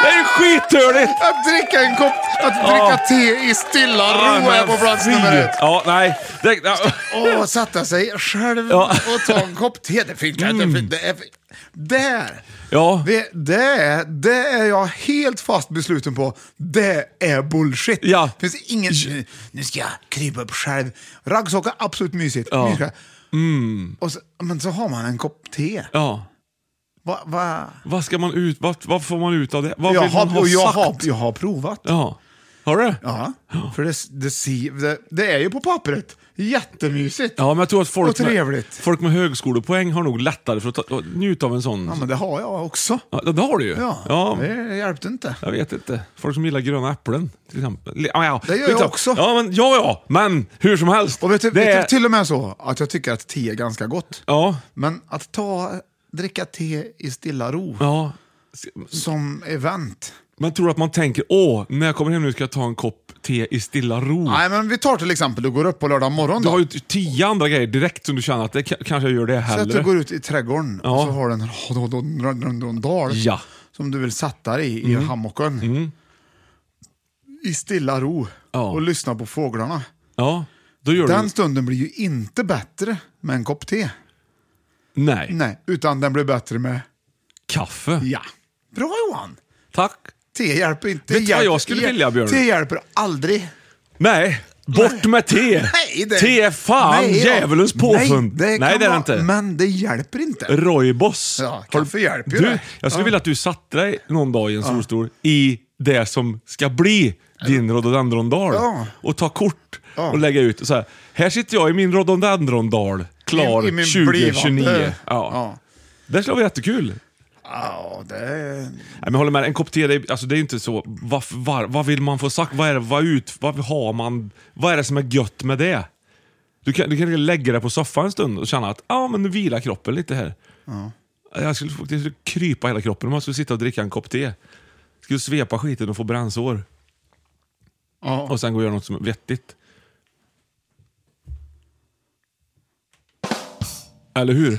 Det är skithörligt! Att dricka en kopp... Att Ja. dricka te i stilla Ah, ro är men på plats fy. nummer ett. Ja, nej. Det, ja. Åh, sätta sig själv Ja. Mm. och ta en kopp te. Det fick jag inte. för Det är... Där! Ja. Det, det, är, det är jag helt fast besluten på. Det är bullshit. Ja. Det finns ingen... Nu, nu ska jag krypa upp själv. Raggsocka, absolut mysigt. Ja. Mysigt. Mm. Och så, men så har man en kopp te. ja. Va, va? Vad ska man ut... Vad, vad får man ut av det? Vad jag, vill har, man ha och jag, sagt? har, jag har provat. Ja. Har du? Ja, för det, det, ser- det, det är ju på pappret jättemysigt. Ja, men jag tror att folk Och med, trevligt. folk med högskolepoäng har nog lättare för att ta, att njuta av en sån. Ja, men det har jag också. Ja, det har du ju. Ja, ja. det hjälpte inte. Jag vet inte. Folk som gillar gröna äpplen till exempel. Ja, ja. Det gör jag Skitsamma. också. Ja, men, ja, ja, men hur som helst. Och vet du, det vet är- du, till och med så att jag tycker att te är ganska gott. Ja, Men att ta, dricka te i stilla ro ja. som event. Men tror du att man tänker, åh, när jag kommer hem nu ska jag ta en kopp te i stilla ro? Nej, men vi tar till exempel, du går upp på lördag morgon Mm. Du då. har ju tio andra grejer direkt som du känner att det ka- kanske jag gör det Så hellre. att du går ut i trädgården Ja. och så har du en rondondal Ja. Mm. som du vill sätta dig i, i hammocken. I stilla ro Ja. och lyssna på fåglarna. Ja, då gör Den du... stunden blir ju inte bättre med en kopp te. Nej. Nej, utan den blir bättre med... Kaffe. Ja. Bra Johan! Tack. Te hjälper inte. Vet du vad hjälper- jag skulle vilja, Björn? Te hjälper aldrig. Nej, bort med te! Nej, det... Te är fan Nej, ja. djävulens påfund. Nej, det, kan det är det vara, inte. Men det hjälper inte. Roibos. Ja, kaffe hjälper ju Du, det. jag skulle Ja. vilja att du satte dig någon dag i en solstol i det som ska bli din rhododendrondal Ja. och ta kort Ja. och lägga ut. Så här, här sitter jag i min rhododendrondal. klar I- i min 2029. blivande. Ja. Det skulle vara jättekul. Ja, det är... Nej, men jag håller med, en kopp te, det är, alltså, det är inte så... Vad, vad, vad vill man få sagt? Vad är det, vad ut, vad har man? Vad är det som är gött med det? Du kan, du kan lägga dig på soffan en stund och känna att ah, men nu vilar kroppen lite här. Ja. Jag skulle, det skulle krypa hela kroppen om jag skulle sitta och dricka en kopp te. Skulle svepa skiten och få brännsår. Och sen gå och göra något som är vettigt. Eller hur?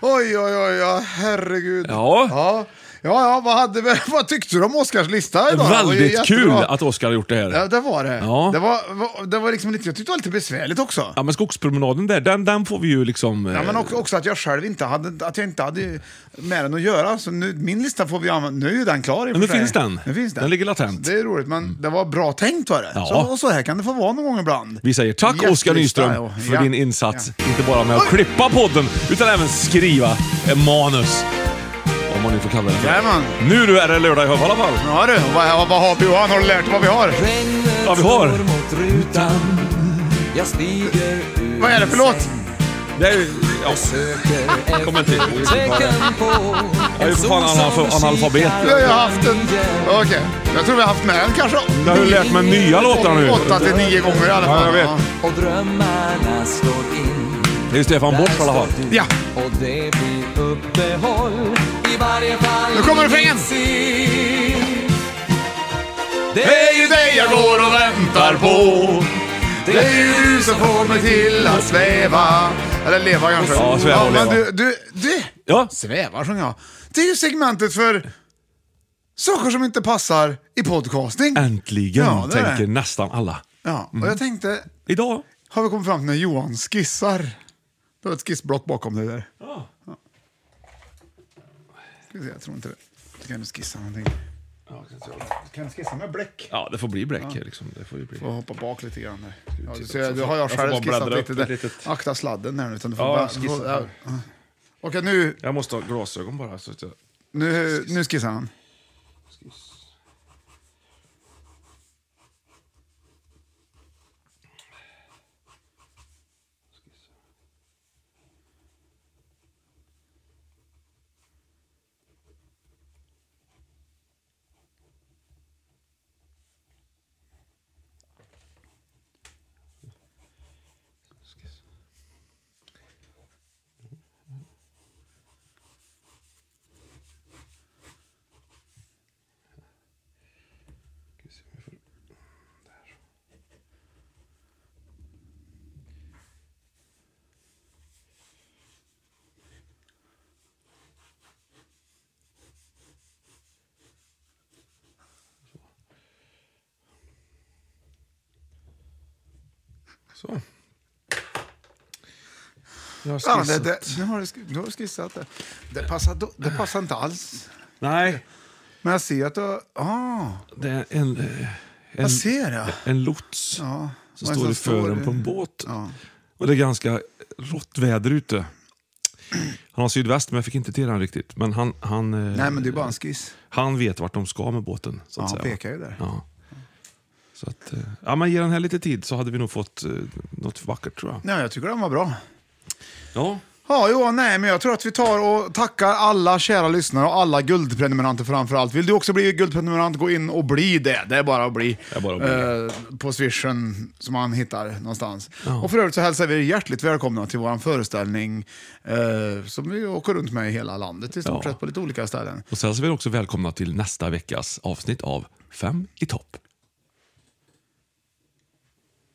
Oj, oj, oj, ja, herregud. Ja. Ja, ja, ja vad, hade vi, (laughs) vad tyckte du om Oscars lista idag? Det var ju Väldigt kul jättebra. att Oskar har gjort det här. Ja, det var det. Ja. Det, var, var- det var liksom lite, jag tyckte det var lite besvärligt också. Ja, men skogspromenaden där, den, den får vi ju liksom... Ja, eh, men också, också att jag själv inte hade, att jag inte hade med den att göra. Så nu, min lista får vi använda. Nu är den klar i och Men nu för sig. finns den. Nu finns den. Den ligger latent. Mm. Så det är roligt, men det var bra tänkt var det. Ja. Så, och så här kan det få vara någon gång ibland. Vi säger tack Gästlista, Oskar Nyström ja. för Ja. din insats. Inte bara med att klippa podden, utan även skriva en manus. Om man nu får kalla det för. Jajamän. Nu du är det lördag i Höv i alla fall. Ja du, vad, vad har vi? Johan, har du lärt dig vad vi har? Ja, vi har. Jag stiger ur Vad är det för låt? Det är ju... Ja. Kommer inte ihåg. Jag är ju för fan analfa- analfabet. Vi har ju haft en... Okej. Jag tror vi har haft med en kanske. Jag har ju lärt mig nya låtar nu. Åtta till nio gånger i alla fall. Ja, jag vet. Och drömmarna slår in Det är ju Stefan Borsch i alla fall. Ja. Och det blir uppehåll I varje fall Nu kommer refrängen. Det är ju dig jag går och väntar på. Det är ju du som får mig till att sväva. Eller leva kanske. Ja, sväva och men leva. Du, du, du, Ja. svävar sjöng jag. Det är ju segmentet för saker som inte passar i podcasting. Äntligen, Ja, det är tänker det. nästan alla. Ja, Mm. och jag tänkte, Idag. har vi kommit fram till när Johan skissar? Du har ett skissblock bakom dig där. Ja. Ska vi se, jag tror inte det. Du kan du skissa någonting. Kan du skissa med bläck? Ja, det får bli bläck här, liksom. Det får ju bli. Får hoppa bak lite grann där. Ja, du titta ser, också? du har jag Jag får själv bara skissat bläddra lite. upp ett där. litet- Akta sladden här nu. Utan du får Ja, bara, jag skissar. du får- ja. Okej, nu, Jag måste ha glasögon bara. Så att jag... nu, nu skissar han. Så. Jag har Ja, skissat. det, det, nu, har du, sk- nu har du skissat det. Det passar, då- det passar inte alls. Nej, Men jag ser att du... har- Ah, det är en, eh, en, jag ser det. en lots Ja, som och en står som i fören står- på en båt. Ja. Och det är ganska rått väder ute. Han har sydväst, men jag fick inte till den riktigt. Men han, han, eh, Nej, men det är bara en skiss. han vet vart de ska med båten. Så Ja, att han säga. pekar ju där. Ja. Så att, eh, ja, men ge den här lite tid så hade vi nog fått eh, något vackert tror jag. Nej, jag tycker den var bra. Ja. Ja, Johan, nej, men jag tror att vi tar och tackar alla kära lyssnare och alla guldprenumeranter framför allt. Vill du också bli guldprenumerant, gå in och bli det. Det är bara att bli. Det är bara att bli. Eh, på swishen som man hittar någonstans. Och för övrigt så hälsar vi er hjärtligt välkomna till vår föreställning eh, som vi åker runt med i hela landet i stort Ja. sett på lite olika ställen. Och sen så är vi också välkomna till nästa veckas avsnitt av Fem i topp.